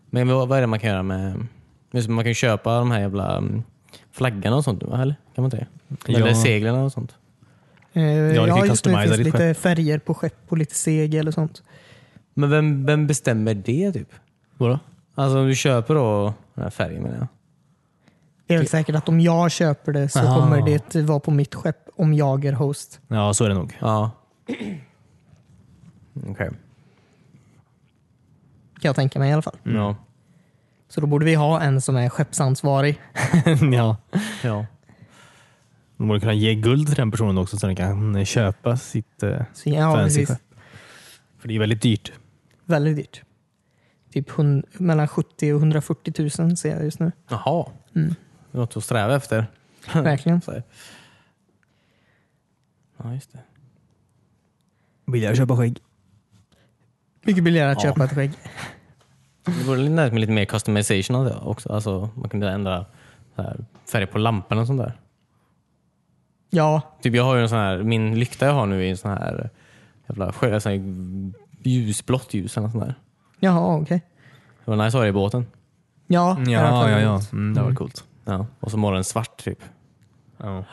Men vad, vad är det man kan göra med... just Man kan ju köpa de här jävla mm, flaggorna och sånt, va? eller? Kan man inte det? Eller Ja. seglen och sånt. Eh, Ja, du kan just nu customisa finns ditt lite färger på skepp och lite segel och sånt. Men vem, vem bestämmer det typ? Vadå? Alltså om du köper då den här färgen menar jag. Det är väl säkert att om jag köper det så Aha. kommer det vara på mitt skepp om jag är host. Ja, så är det nog. Ja. Okej. Kan jag tänka mig i alla fall. Ja. Så då borde vi ha en som är skeppsansvarig. ja. ja. De borde kunna ge guld till den personen också så den kan köpa sitt eh, Så, ja, fancy precis. skepp. För det är väldigt dyrt. Väldigt dyrt. Typ hun- mellan 70 och 140 000 ser jag just nu. Jaha. Det är Något att sträva efter. Hm. Verkligen. Så här. Ja, just det. Vill jag köpa skägg? Mycket billigare att Ja. köpa ett skägg. Det vore lite nice med lite mer customization av det också. Alltså, man kunde ändra så här, färg på lamporna och sånt där. Ja, Typ jag har ju en sån här, min lykta jag har nu är en sån här jävla skö- sån här ljusblått ljus eller något sånt där. jaha okej. Det var nice att ha det i båten. Ja, Ja, jag har ja, tagit ja. emot. Mm, det var coolt. Ja. Och så målar den svart typ. Ja.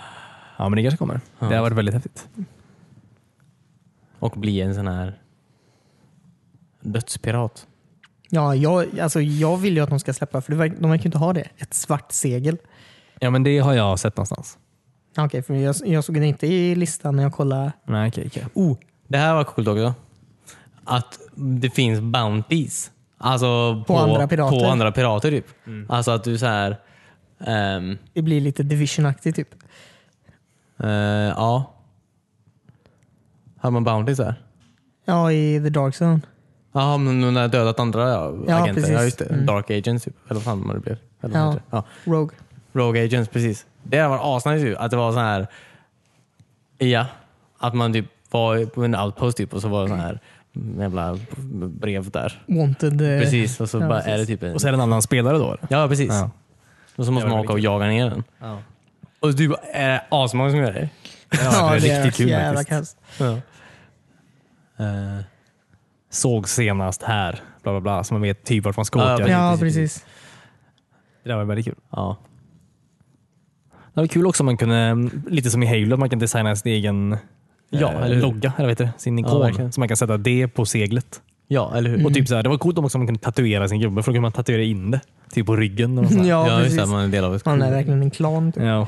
ja, men det kanske kommer. Det har varit väldigt häftigt. Och bli en sån här dödspirat. Ja, jag, alltså, jag vill ju att de ska släppa, för det verk, de verkar ju inte ha det. Ett svart segel. Ja, men det har jag sett någonstans. Ja, Okej, för jag, jag såg det inte i listan när jag kollade. Nej, okej. okej. Oh, det här var coolt också. Att det finns bounties. Alltså på, andra pirater. På andra pirater typ. Alltså att du så här... ehm, Det blir lite division-aktigt typ. Eh, ja. Har man bounties där? Ja, i The Dark Zone. Jaha, men när jag dödat andra ja, Ja, agenter. precis. Ja, just det. Mm. Dark Agents, typ. eller vad fan vad det blev. Eller Ja. vad heter det? Ja. Rogue. Rogue Agents, precis. Det var asnice ju, att det var så här... Ja, att man typ var på en outpost typ, och så var det så här jävla brev där. Wanted. eh, Precis, och så ja, bara precis. är det typ en... Och så är det en annan spelare då? eller? Ja, precis. Ja. Och så måste Det var man åka och jaga ner den. Och du bara, är det asmånga som gör det? Ja, det är riktigt kul jävla faktiskt. kass. Ja. Eh, Såg senast här, bla bla bla, så man vet typ vart man ska Ja, åka. Ja, precis, precis. Det där var väldigt kul. ja. Det var kul också om man kunde, mm, lite som i Halo, att man kan designa sin egen Ja, eh, eller hur? logga, eller vad heter det? Sin ikon. verkligen. så man kan sätta det på seglet. ja, eller hur? Och typ så här, det var coolt om också man kunde tatuera sin gubbe, för då kunde man tatuera in det. Typ på ryggen. Och sånt här. Ja, Ja, just det. precis. att Man är en del av ett Man är crew. verkligen en klan. Typ. ja.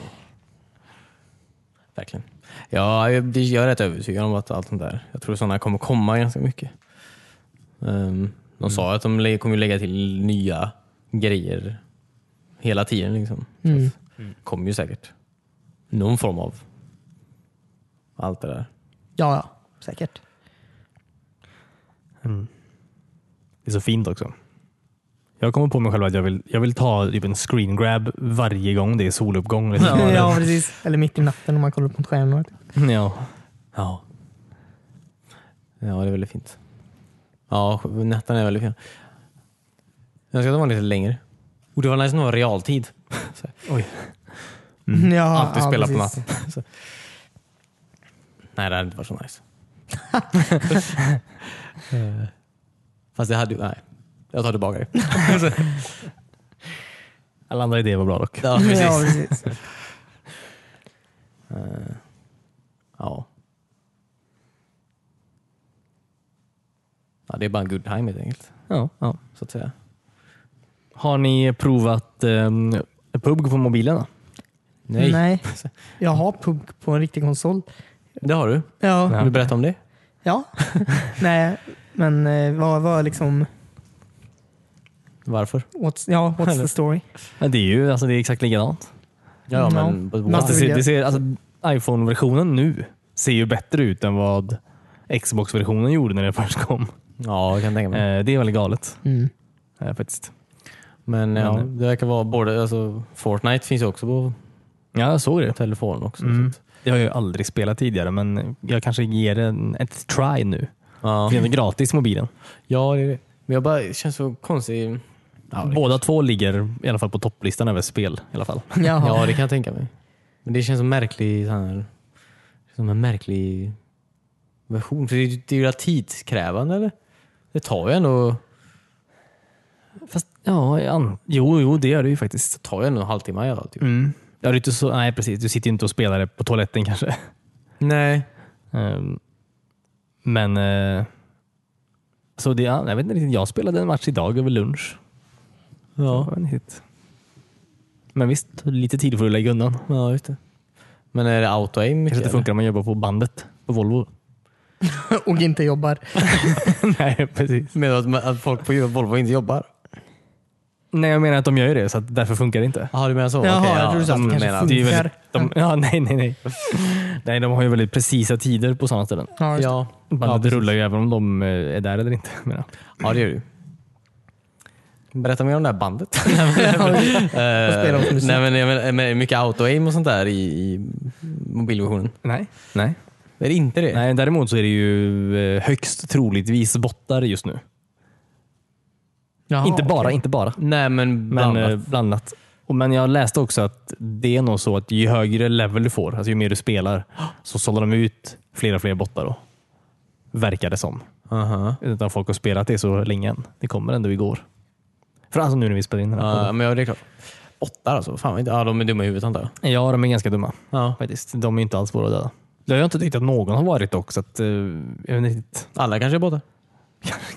Verkligen. Ja, jag, det- jag är rätt övertygad om att allt sånt där. Jag tror sådana kommer komma ganska mycket. Ehm, de sa ju att de lä- kommer ju lägga till nya grejer hela tiden. Liksom. Så Mm. att det kommer ju säkert någon form av allt det där. Ja, ja. Säkert. Det är så fint också. Jag kommer på mig själv att jag vill, jag vill ta typ en screen grab varje gång det är soluppgång. Liksom. Ja, precis. Eller mitt i natten om man kollar på stjärnor. typ. ja. ja. Ja, det är väldigt fint. Ja, nätterna är väldigt fina. Jag ska ta vara lite längre. Och det var nice att ha realtid. Så, Oj. Ja, alltid ja, spela på precis. natten. Så. Nej, det hade inte varit så nice. Eh, Fast det hade ju... Nej. Jag tar tillbaka det. Alla andra idéer var bra dock. Ja, Ja, precis. precis. Eh, Ja. Ja, det är bara en good time helt enkelt. Ja. Ja, så att säga. Har ni provat um, PUBG på mobilen? Då? Nej, Nej. Jag har PUBG på en riktig konsol. det har du. Ja. Vill du berätta om det? ja. Nej, men eh, vad var liksom... Varför? What's, ja, what's the story? Ja, det är ju alltså, det är exakt likadant. Ja, Ja. men... but Men why? Fast det ser, vilja- det ser, alltså, iPhone-versionen nu ser ju bättre ut än vad Xbox-versionen gjorde när den först kom. Ja, jag kan tänka mig. Eh, det är väldigt galet Mm. eh, faktiskt. Men ja, Men- det verkar vara både, alltså Fortnite finns ju också på Ja, jag såg det. telefon också. Mm. Så att, Det har jag ju aldrig spelat tidigare, men jag kanske ger den ett try nu. ja. För den är gratis mobilen. ja, det är det. Men jag bara, det känns så konstigt. Ja, det, Båda två ligger i alla fall på topplistan över spel. i alla fall. Jaha. ja, det kan jag tänka mig. Men det känns som märklig, så här, som en märklig version. För det, är- det är ju rätt tidskrävande eller? Det tar ju ändå, Fast, ja, an- jo, jo, det gör det ju faktiskt. det tar ju ändå en halvtimme i alla fall. Typ. Mm. Ja, det är inte så, nej, precis. Du sitter ju inte och spelar det på toaletten kanske. Nej. Ehm, Men eh, så det, ja, jag vet inte riktigt. Jag spelade en match idag över lunch. Det Ja, var en hit. Men visst, lite tid får du lägga undan. ja just det. Men är det auto-aim mycket? Kanske inte eller? funkar om man jobbar på bandet på Volvo. Och inte jobbar. nej, precis. Menar du att, att folk på Volvo inte jobbar? Nej, jag menar att de gör ju det, så att därför funkar det inte. Jaha, du menar så? Jaha, Okej, jag ja, trodde du sa att de det kanske menar- Det är ju Funkar. väldigt, de, ja, nej, nej, nej. nej, de har ju väldigt precisa tider på sådana ställen. Ja, just det. Ja, ja, Bandet rullar ju även om de eh, är där eller inte. Menar. jag. Ja, det gör du. Berätta mer om det här bandet. spelar de för musik? Eh, Nej, men, jag menar, men, är det mycket auto-aim och sånt där i, i mobilversionen. Nej. nej. Är det inte det? Nej, däremot så är det ju eh, högst troligtvis bottar just nu. Jaha, inte bara, okej. inte bara. Nej, men Men Ah, eh, blandat. blandat. blandat. Och, men jag läste också att det är nog så att ju högre level du får, alltså ju mer du spelar, så sållar de ut flera och fler bottar då. Verkar det som. Aha. Utan folk har spelat det så länge än. Det kommer ändå igår. För alltså nu när vi spelar in den här Ja, men ja, det är klart. Åttar alltså? Fan, vad inte. Ja, de är dumma i huvudet antar jag. podden. Ja, de är ganska dumma Ja. faktiskt. De är inte alls svåra att döda. Det har jag inte tyckt att någon har varit dock, så att, eh, jag vet inte riktigt. Alla kanske är båda.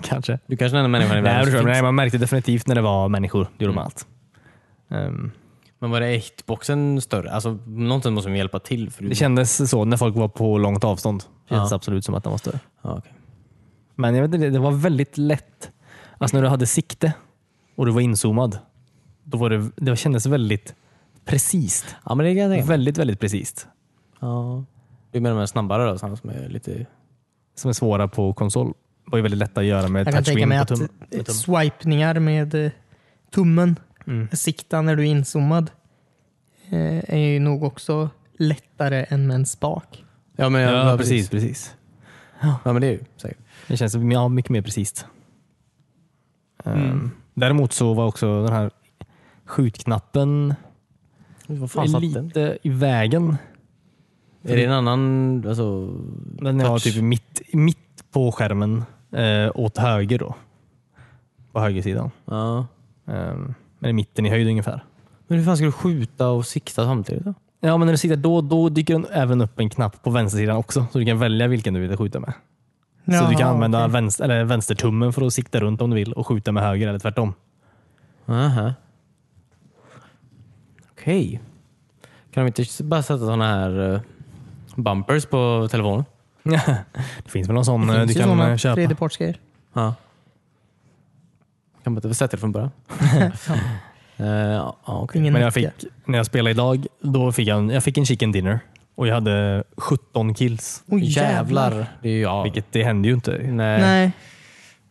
Kanske. Du kanske är den enda människan i Nej, världen jag som tror, finns. Mm. nej, man märkte definitivt när det var människor. Det gjorde man allt. Ehm, Men var det hitboxen större? Alltså, någonting måste de hjälpa till. För du... det kändes så när folk var på långt avstånd. Kändes absolut som att den var större. ja, okej. Men jag vet inte, det var väldigt lätt. Alltså när du hade sikte och du var inzoomad, då var det, det kändes väldigt precist. ja, men det kan jag tänka mig. Väldigt, väldigt precist. Ja. Du menar de här snabbare då? sådana Som är lite... Som är svåra på konsol. Det var ju väldigt lätt att göra med Jag kan tänka touchscreen mig på att tum- eh, med tummen. swipningar med eh, tummen, Mm. sikta när du är inzoomad, eh, är ju nog också lättare än med en spak. Ja, men, Ja, precis. precis. Ja, men det är ju säkert. Det känns ja, mycket mer precis. Ehm, däremot så var också den här skjutknappen Vad lite i vägen. Är det en annan... Alltså, Den var Touch. typ mitt, mitt på skärmen eh, åt höger då. På högersidan. ja. Ehm, men i mitten i höjd ungefär. Men hur fan ska du skjuta och sikta samtidigt då? Ja, men när du sitter då, då dyker den även upp en knapp på vänstersidan också. Så du kan välja vilken du vill skjuta med. så du kan använda vänster, eller vänstertummen för att sikta runt om du vill och skjuta med höger eller tvärtom. Aha. Okej. Kan de inte s- bara sätta sådana här eh, bumpers på telefonen? det finns väl någon sån eh, du finns ju kan sådana eh, köpa? tredjepartsgrejer. Ja. Kan man inte sätta det från början? Eh, Ja, uh, okej. Ingen Men jag fick, nyckel. när jag spelade idag, då fick jag en, jag fick en chicken dinner och jag hade 17 kills. Oj, jävlar. Det är ju, ja. Vilket det hände ju inte. Nej. Nej,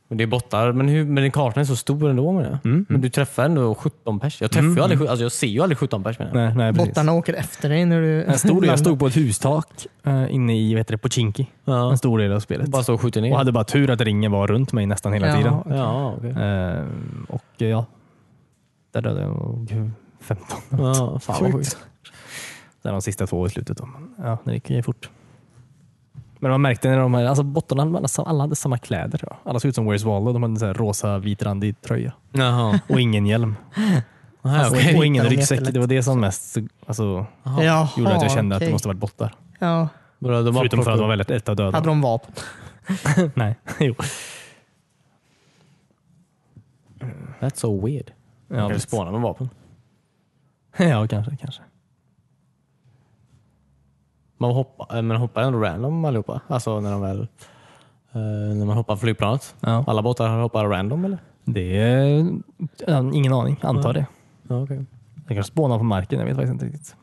Men det är bottar, men, hur, men kartan är så stor ändå menar jag. Mm. Men du träffar ändå 17 pers. Jag, träffar ju aldrig, sju- alltså jag ser ju aldrig 17 pers menar jag. Nej, nej, precis. Bottarna åker efter dig när du En stor del, landar. jag stod på ett hustak eh, inne i vet du, på Chinki. Ja. En stor del av spelet. Bara så skjuter ner. Och hade bara tur att ringen var runt mig nästan hela Ja. tiden. Ja, okej. Eh, och eh, ja, där dödade jag nog 15. Ja, fan vad sjukt. Det är de sista två i slutet. Då. Men, Ja, det gick ju fort. Men man märkte när de här, alltså bottarna, hade alla sam- alla hade samma kläder. ja. Alla såg ut som Where's Waldo. De hade en sån här rosa vitrandig tröja Jaha. och ingen hjälm. Aha, Alltså, okej. Och ingen Hittar de ryggsäck. jättelätt. Det var det som mest alltså, Jaha, gjorde att jag kände att okej. det måste varit bottar. Ja, Bra, de bara Förutom för att plockar de var upp. väldigt lätta att döda. hade de vapen? Nej, jo. That's so weird. Ja, Ja, du visst. spånar med vapen. ja, kanske. kanske. Man hoppar, eh, men hoppar ändå random allihopa? Alltså när de väl... eh, när man hoppar flygplanet? Ja. Alla båtar hoppar random eller? Det är, ja, ingen aning. Antar det. Ja, okej. Jag kanske spånar på marken. Jag vet faktiskt inte riktigt.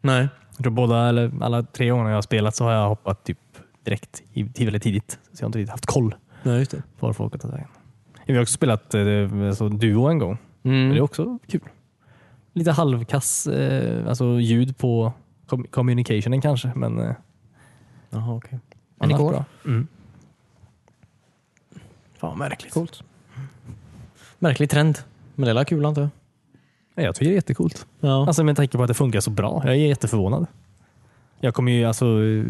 Nej. Jag tror båda, eller alla tre gånger jag har spelat så har jag hoppat typ direkt, i, till väldigt tidigt. Så jag har inte riktigt haft koll Nej, just det. på var folk har tagit vägen. Vi har också spelat eh, alltså, Duo en gång. Mm. Det är också kul. Lite halvkass eh, alltså, ljud på kom- communicationen kanske, men eh, Jaha, okej. Men det annars går. bra. Fan, märkligt. Coolt. Märklig trend. Men det är kul antar jag. Ja, Jag tycker det är jättecoolt. Ja. Alltså med tanke på att det funkar så bra. Jag är jätteförvånad. Jag kommer ju alltså eh,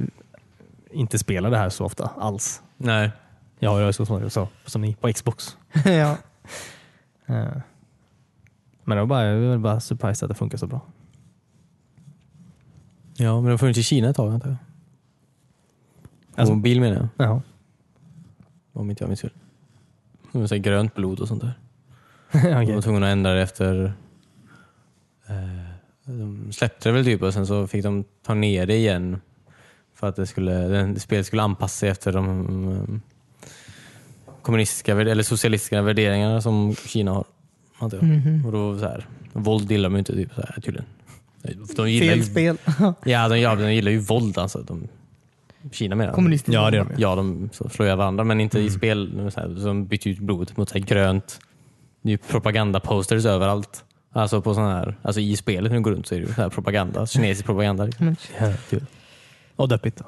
inte spela det här så ofta alls. nej. Jag har ju så som jag sa, som ni, på Xbox. ja. Eh, Men jag var bara, jag var bara surprised att det funkar så bra. Ja, men det har funnits i Kina ett tag antar jag. Alltså- Mobil menar jag. Ja. Om inte jag minns fel. Det var så här grönt blod och sånt där. De var okay. tvungna att ändra det efter... Eh, de släppte det väl typ och sen så fick de ta ner det igen för att det skulle, den, spelet skulle anpassa sig efter de mm, kommunistiska värde- eller socialistiska värderingarna som Kina har. antar jag. Och då så här, våld gillar de ju inte typ så här, tydligen. De gillar Fel ju, spel. ja, de, ja, de gillar ju våld alltså. De, Kina menar jag. Kommunister. Ja, Mm. det gör de ju. Ja, de så slår ju varandra men inte i spel. men Så här, så de byter ut blodet mot så här, grönt. Det är ju propagandaposters överallt. Alltså, på sån här, alltså i spelet när du går runt så är det ju så här propaganda, kinesisk propaganda. Liksom. Ja, kul. Och deppigt. då.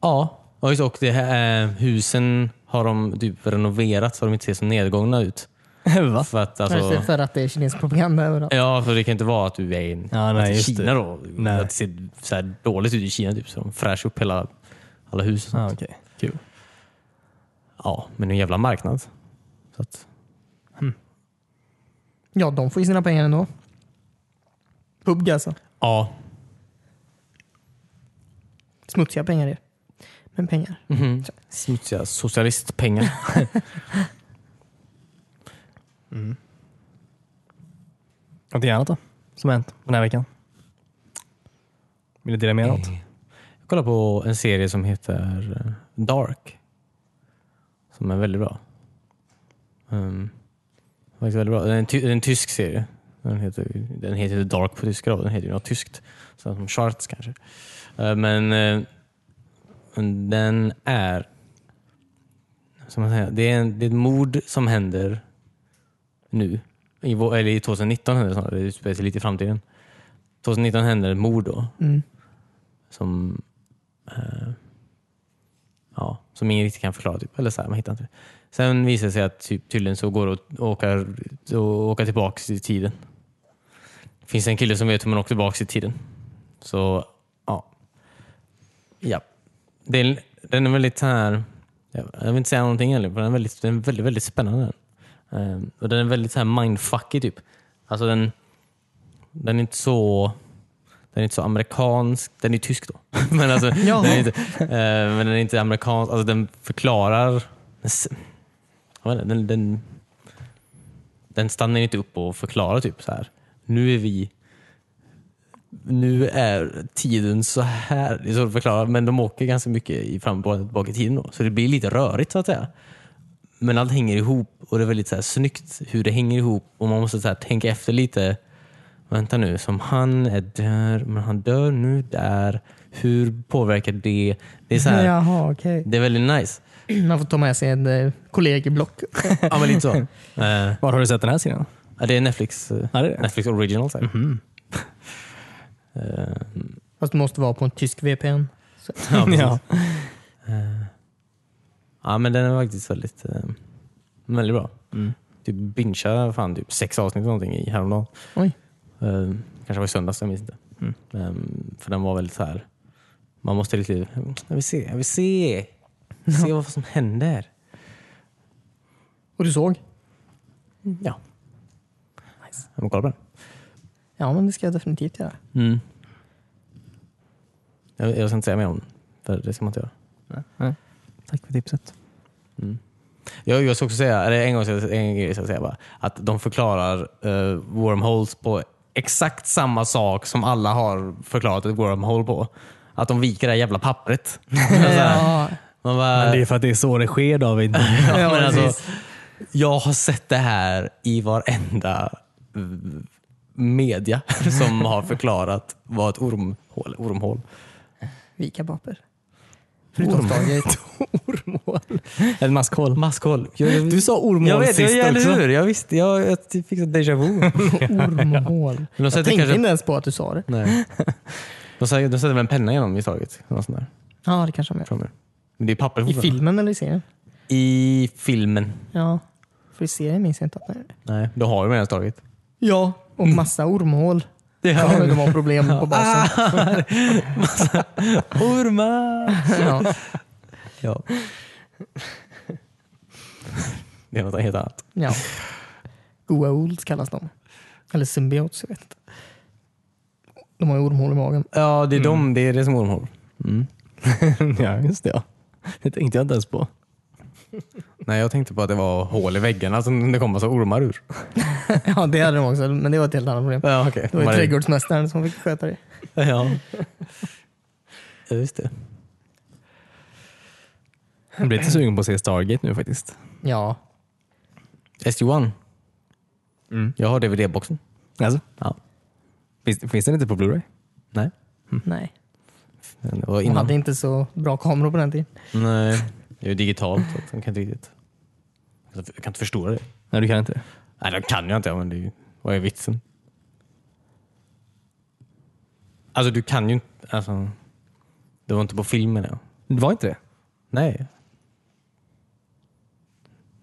Ja, ja, just det. och det här, eh, husen har de typ renoverat så de inte ser så nedgångna ut. Va? För att, Kanske alltså, för att det är kinesisk propaganda överallt. ja, för det kan inte vara att du är i Ja, nej, att i just Kina det. då. Nej. Att det ser så här dåligt ut i Kina typ, så de fräschar upp hela, alla hus. Och sånt. Ah, okay. Kul. Ja, men det är en jävla marknad. Så att, Ja, de får ju sina pengar ändå. PubG alltså. ja, Smutsiga pengar är det. Men pengar. Mhm. Smutsiga socialistpengar. Någonting annat då? Som har hänt den här veckan? Vill du dela med dig av något? Jag kollar på en serie som heter eh, Dark. Som är väldigt bra. Um, faktiskt väldigt bra. Det är en, ty- det är en tysk serie. Den heter, den heter Dark på tyska då. Den heter ju något tyskt. Så som Charts kanske. Eh, men eh, den är... Som man säger, det, är en, det är ett mord som händer nu. I, vår- eller i 2019 händer det snarare. Det utspelar sig lite i framtiden. 2019 händer ett mord då Mm. som eh, ja, som ingen riktigt kan förklara. Typ. Eller så här, man hittar inte det. Sen visar det sig att typ, tydligen så går det att åka, att åka tillbaka i tiden. Det finns en kille som vet hur man åker tillbaka i tiden. Så ja. ja. Det är, den är väldigt så här, jag jag vill inte säga någonting egentligen, för den är väldigt, den är väldigt, väldigt spännande. Eh, och den är väldigt så här mindfuckig typ. Alltså den, den är inte så den är inte så amerikansk. Den är tysk då. men, alltså, den är inte, eh, men den är inte amerikansk. Alltså, den förklarar... den s- jag vet inte, Den, den, den stannar inte upp och förklarar typ så här. Nu är vi... Nu är tiden så här. Det är så de förklarar. Men de åker ganska mycket i fram och tillbaka i tiden då. Så det blir lite rörigt så att säga. Men allt hänger ihop och det är väldigt så här snyggt hur det hänger ihop och man måste så här tänka efter lite. Vänta nu, som han är där, men han dör nu där. Hur påverkar det? Det är, så här, Jaha, okej. det är väldigt nice. Man får ta med sig en eh, kollegieblock. Ja, men lite så. Eh, Var har du sett den här serien? ja, det är Netflix, eh, Ja, det är det. Netflix original. säger jag. Mhm. Eh, Fast du måste vara på en tysk VPN. ja, precis. Ja. Eh, ja, men den är faktiskt väldigt, eh, väldigt bra. Mm. Typ bingea fan typ sex avsnitt eller någonting i häromdagen. Oj. Eh, kanske var i söndags, jag minns inte. Mm. Eh, för den var väldigt så här. man måste riktigt, jag vill se, jag vill se, jag vill se vad som händer. Och du såg? Ja. Nice. Jag kolla på Ja, men det ska jag definitivt göra. den. Mm. Jag, jag ska inte säga mer om den, för det ska man inte göra. Tack för tipset. Jag, jag ska också säga, eller en gång ska jag, en grej ska jag säga bara, att de förklarar eh, wormholes på exakt samma sak som alla har förklarat ett wormhole på. Att de viker det här jävla pappret. Alltså, Ja, Man bara, Men det är för att det är så det sker David. ja, men Ja, alltså, precis. jag har sett det här i varenda eh, media som har förklarat vad ett ormhål, ormhål vika papper. Förutom Stargate. Ormhål. Ett maskhål. Maskhål. Du sa ormhål jag vet, sist jag, eller också. hur? Jag visste, jag, jag fick så déjà vu. Ormhål. De Jag sätter, tänkte kanske, inte ens på att du sa det. nej. de sätter, de sätter väl en penna genom i taget? Någon sån där, Ja, det kanske de gör. tror jag. Men det är papper I fortfarande. filmen eller i serien? I filmen. Ja. För i serien minns jag inte att det är det. Nej, då har vi redan taget. Ja, och massa ormhål. Ja, Ah. men de har problem på basen. Ormar! Ja, Ja. Det är något helt annat. ja. Goa'ulds kallas de. Eller symbiots, jag vet inte. De har ju ormhål i magen. Ja, det är de. Det är det som ormhål. Mm. ja, just det. Ja. Det tänkte jag inte ens på. Nej, jag tänkte på att det var hål i väggarna som det kom massa ormar ur. Ja, det hade de också, men det var ett helt annat problem. Ja, okej. Det var ju Var det- trädgårdsmästaren som fick sköta det. Ja. ja, just det. Jag blir lite sugen på att se Stargate nu faktiskt. Ja, SG1. Jag har DVD-boxen. Alltså, Mm. Ja. finns, finns den inte på Blu-ray? Nej. nej. Det var De innan. hade inte så bra kameror på den tiden. Nej. eh, Det är ju digitalt. Så att de kan inte riktigt... Jag kan inte förstora det. Nej, du kan inte det. Nej, det kan jag inte. Men det är ju... Vad är vitsen? Alltså, du kan ju inte... Alltså, det var inte på filmen. Ja. Det var inte det? Nej.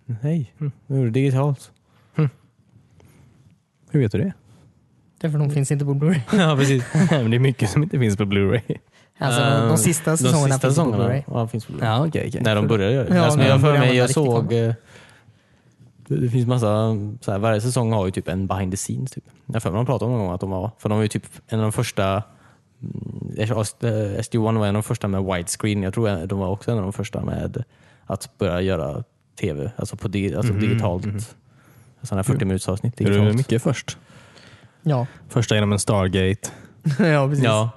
Nej. Nu är det digitalt. Hur vet du det? Därför de finns inte på Blu-ray. ja, precis. Men det är mycket som inte finns på Blu-ray. Alltså, de, de sista säsongerna Ehm, sista finns på säsongerna, Blu-ray. Ja, finns på Blu-ray. Ja, okej. okej. När de började göra det. Ja, alltså, när jag har de för började mig, jag använda såg... riktigt eh, Det, det finns massa, så här, varje säsong har ju typ en behind the scenes. Typ. Jag har för mig de pratade om någon gång att de var, för de var ju typ en av de första mm, SD1 var en av de första med widescreen. Jag tror de var också en av de första med att börja göra tv, alltså, på di, alltså Mm-hmm, digitalt. Sådana här 40 minuters avsnitt Gjorde du digitalt. mycket först? Ja, Första genom en Stargate. ja precis. Ja.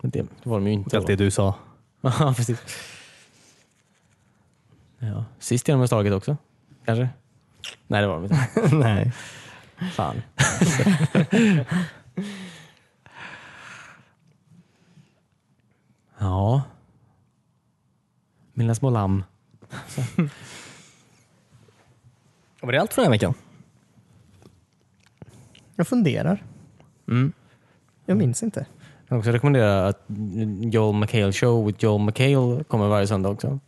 Men det var de ju inte. Allt då. det du sa. Ja, precis. Ja. Sist genom slaget också? Kanske? Nej, det var de inte. Nej. Fan. ja. Mina små lamm. Var det allt för den här veckan? Jag funderar. Mm. Jag minns inte. Jag kan också rekommendera att Joel McHale show with Joel McHale kommer varje söndag också.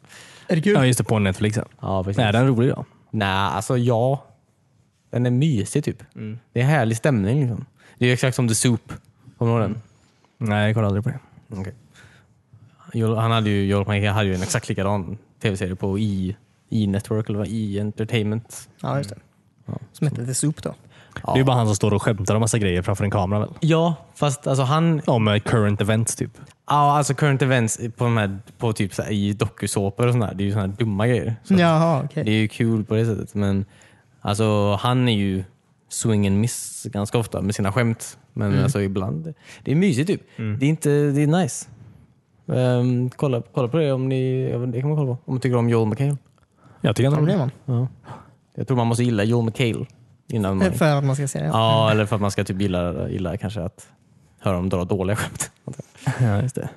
Är det kul? Ja, just det. På Netflix. Ja. Ja, precis. Nej, Nej, den är rolig då. alltså ja. Den är mysig typ. Det är härlig stämning. Liksom. Det är exakt som The Soup. Kommer du ihåg den? Nej, jag kollar aldrig på det. Joel- Han hade ju, Joel McHale hade ju en exakt likadan tv-serie på i, i Network eller vad, i Entertainment. Ja, just det. Som hette The Soup då. Det är ju bara han som står och skämtar om massa grejer framför en kamera väl? Ja, fast alltså han, Om eh, current events typ. ja, alltså current events på, de här, på typ så här, i dokusåpor och sånt där, det är ju sådana här dumma grejer. Så Jaha, okej. Det är ju kul på det sättet, men alltså han är ju swing and miss ganska ofta med sina skämt. Men alltså ibland, det är mysigt typ. Det är inte, det är nice. Ehm, kolla, kolla på det om ni, det kan man kolla på, om ni tycker om Joel McHale. Jag tycker Ja, det han blir är man. Jag tror man måste gilla Joel McHale innan man... För att man ska se det. Ja. Mm. Ja, eller för att man ska typ gilla, gilla kanske att höra dem dra dåliga skämt. Ja, just det.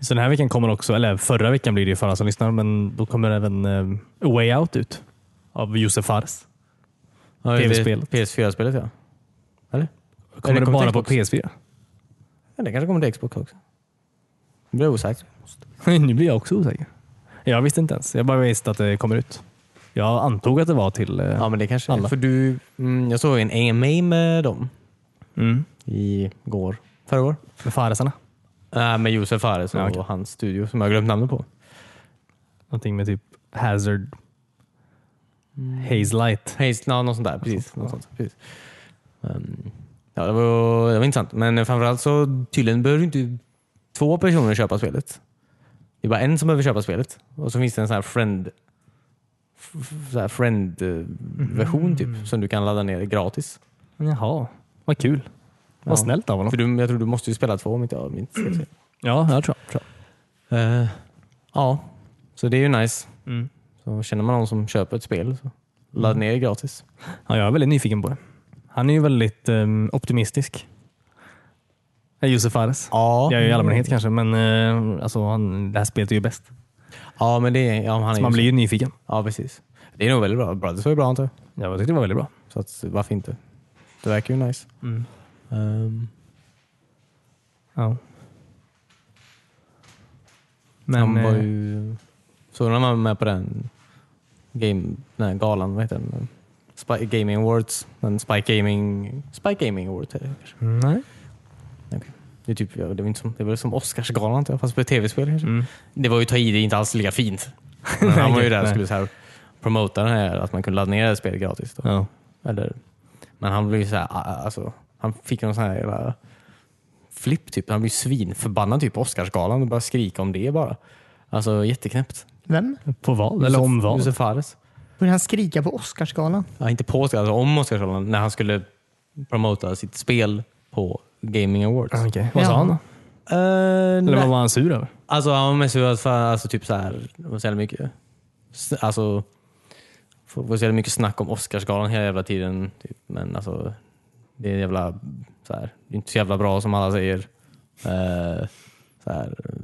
Så den här veckan kommer också, eller förra veckan blir det ju för alla som lyssnar, men då kommer även eh, A Way Out ut av Josef Fares. Ja, PV-spelet. PS4-spelet ja. Kommer det kommer till bara på Xbox. PS4? ja. Det kanske kommer till Xbox också. Det blir osäkert. nu blir jag också osäker. Jag visste inte ens. Jag bara visste att det kommer ut. Jag antog att det var till... eh, Ja men det kanske Alla. För du, mm, jag såg en AMA med dem mm, i går. Förra går? med Faresarna. Nej, Äh, med Josef Fares och Ja, okej. hans studio som jag har glömt namnet på. Någonting med typ Hazard, Mm. Haze Light. Hayes, no, något sånt där. Precis. Något sånt, precis. Ehm, ja, det, var, det var intressant. Men framförallt så tydligen behöver du inte två personer köpa spelet. Det är bara en som behöver köpa spelet. Och så finns det en sån här friend f- så här friend eh, version typ som du kan ladda ner gratis. Jaha, vad kul. Vad Ja. snällt av honom. För du, jag tror du måste ju spela två om inte jag minns helt fel. Ja, jag tror, tror. Eh, ja, så det är ju nice. Mm. Så känner man någon som köper ett spel så ladda ner gratis. Ja, jag är väldigt nyfiken på det. Han är ju väldigt ehm, optimistisk. Eh, Josef Fares. Ja, Jag är ju i allmänhet kanske, men eh, alltså, han, det här spelet är ju bäst. ja men det är... Ja, han är Så ju man så- blir ju nyfiken. Ja, precis. Det är nog väldigt bra. Brothers var ju bra antar jag. Ja, Jag tyckte det var väldigt bra. Så att, varför inte? Det verkar ju nice. Ehm, Ja. han Men, var eh, ju... Så när man var med på den game, den här galan, vad heter den? Spike Gaming Awards. Den Spike Gaming... Spike Gaming Award heter det kanske. eh, nej. Det är, typ, ja, det, är inte som, det är väl som Oscarsgalan antar jag, fast för tv-spel kanske. Mm. Det var ju ta i, det är inte alls lika fint. Men han var ju där och Nej. skulle så här promota den här, att man kunde ladda ner det här spelet gratis. Då. Ja. Eller, men han blev ju så här, ah, ah, alltså, han fick någon sån här jävla flipp typ. Han blev svinförbannad typ på Oscarsgalan och började skrika om det bara. Alltså jätteknäppt. Vem? På val? Eller om val? Josef Fares. Började han skrika på Oscarsgalan? Ja, inte på Oscarsgalan, alltså om Oscarsgalan när han skulle promota sitt spel på Gaming Awards. Ah, okej. Vad sa Ja. han då? Eh, Eller vad nej. var han sur över? Alltså han var mest sur för alltså, typ så här, det var så jävla mycket, s- alltså, det var så jävla mycket snack om Oscarsgalan hela jävla tiden. Typ. Men alltså, det är jävla, så här, det är inte så jävla bra som alla säger. Eh, så här, eh,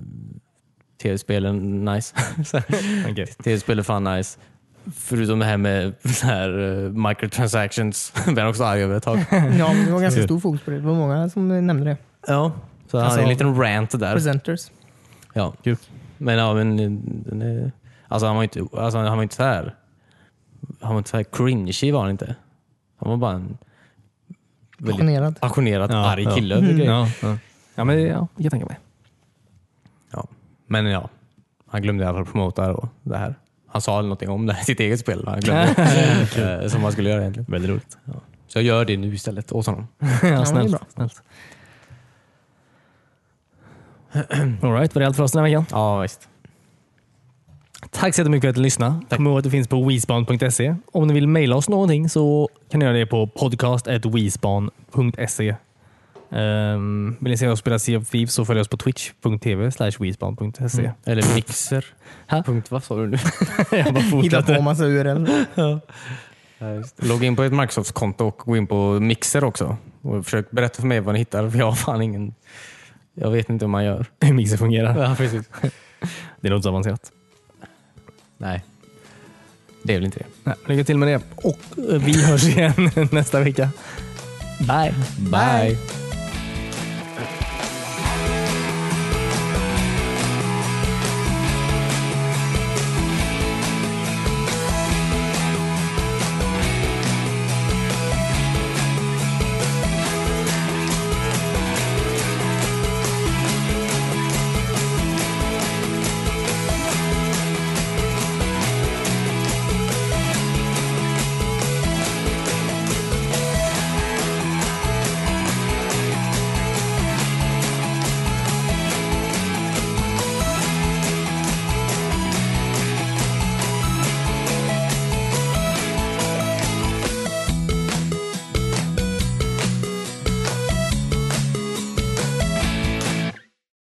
Tv-spelen, nice. Så här, Okej. Tv-spel är fan nice. Förutom det här med så här, eh, microtransactions, blev han också arg över ett tag. Ja, men det var ganska stor fokus på det. Det var många som eh, nämnde det. ja, så han hade en liten rant där. Presenters. Ja. Kul. Men ja, men eh, den är, alltså han var inte, alltså han var inte så här. Han var inte så här cringy var han inte. Han var bara en väldigt Passionerad. passionerat Ja, arg ja. Mm, kille över grejer. Ja, ja. ja, men ja, jag kan tänka mig. Ja. Men ja, han glömde i alla fall promota det och det här. Han sa någonting om det här, sitt eget spel. Han glömde, eh, som han skulle göra egentligen. Väldigt roligt. Så jag gör det nu istället åt honom. ja, men det är snällt. bra. snällt. All right, var det allt för oss den här veckan? Ja visst. Tack så jättemycket för att ni lyssnade. Kom ihåg att det finns på weespan.se. Om ni vill mejla oss någonting så kan ni göra det på podcast.weespan.se. Um, vill ni se oss spela Sea of Thieves så följ oss på twitch.tv slash weespan.se. Eller mixer. Ha? Punkt, vad sa du nu? Jag bara Hitta fortsätter. på massa URL. Logga in på ett Microsoft-konto och gå in på Mixer också. Och försök berätta för mig vad ni hittar, för jag har fan ingen... Jag vet inte hur man gör. hur mixer fungerar. Ja, precis. Det är något så avancerat. Nej, det är väl inte det. Nej, Lycka till med det och eh, vi hörs igen nästa vecka. Bye! Bye.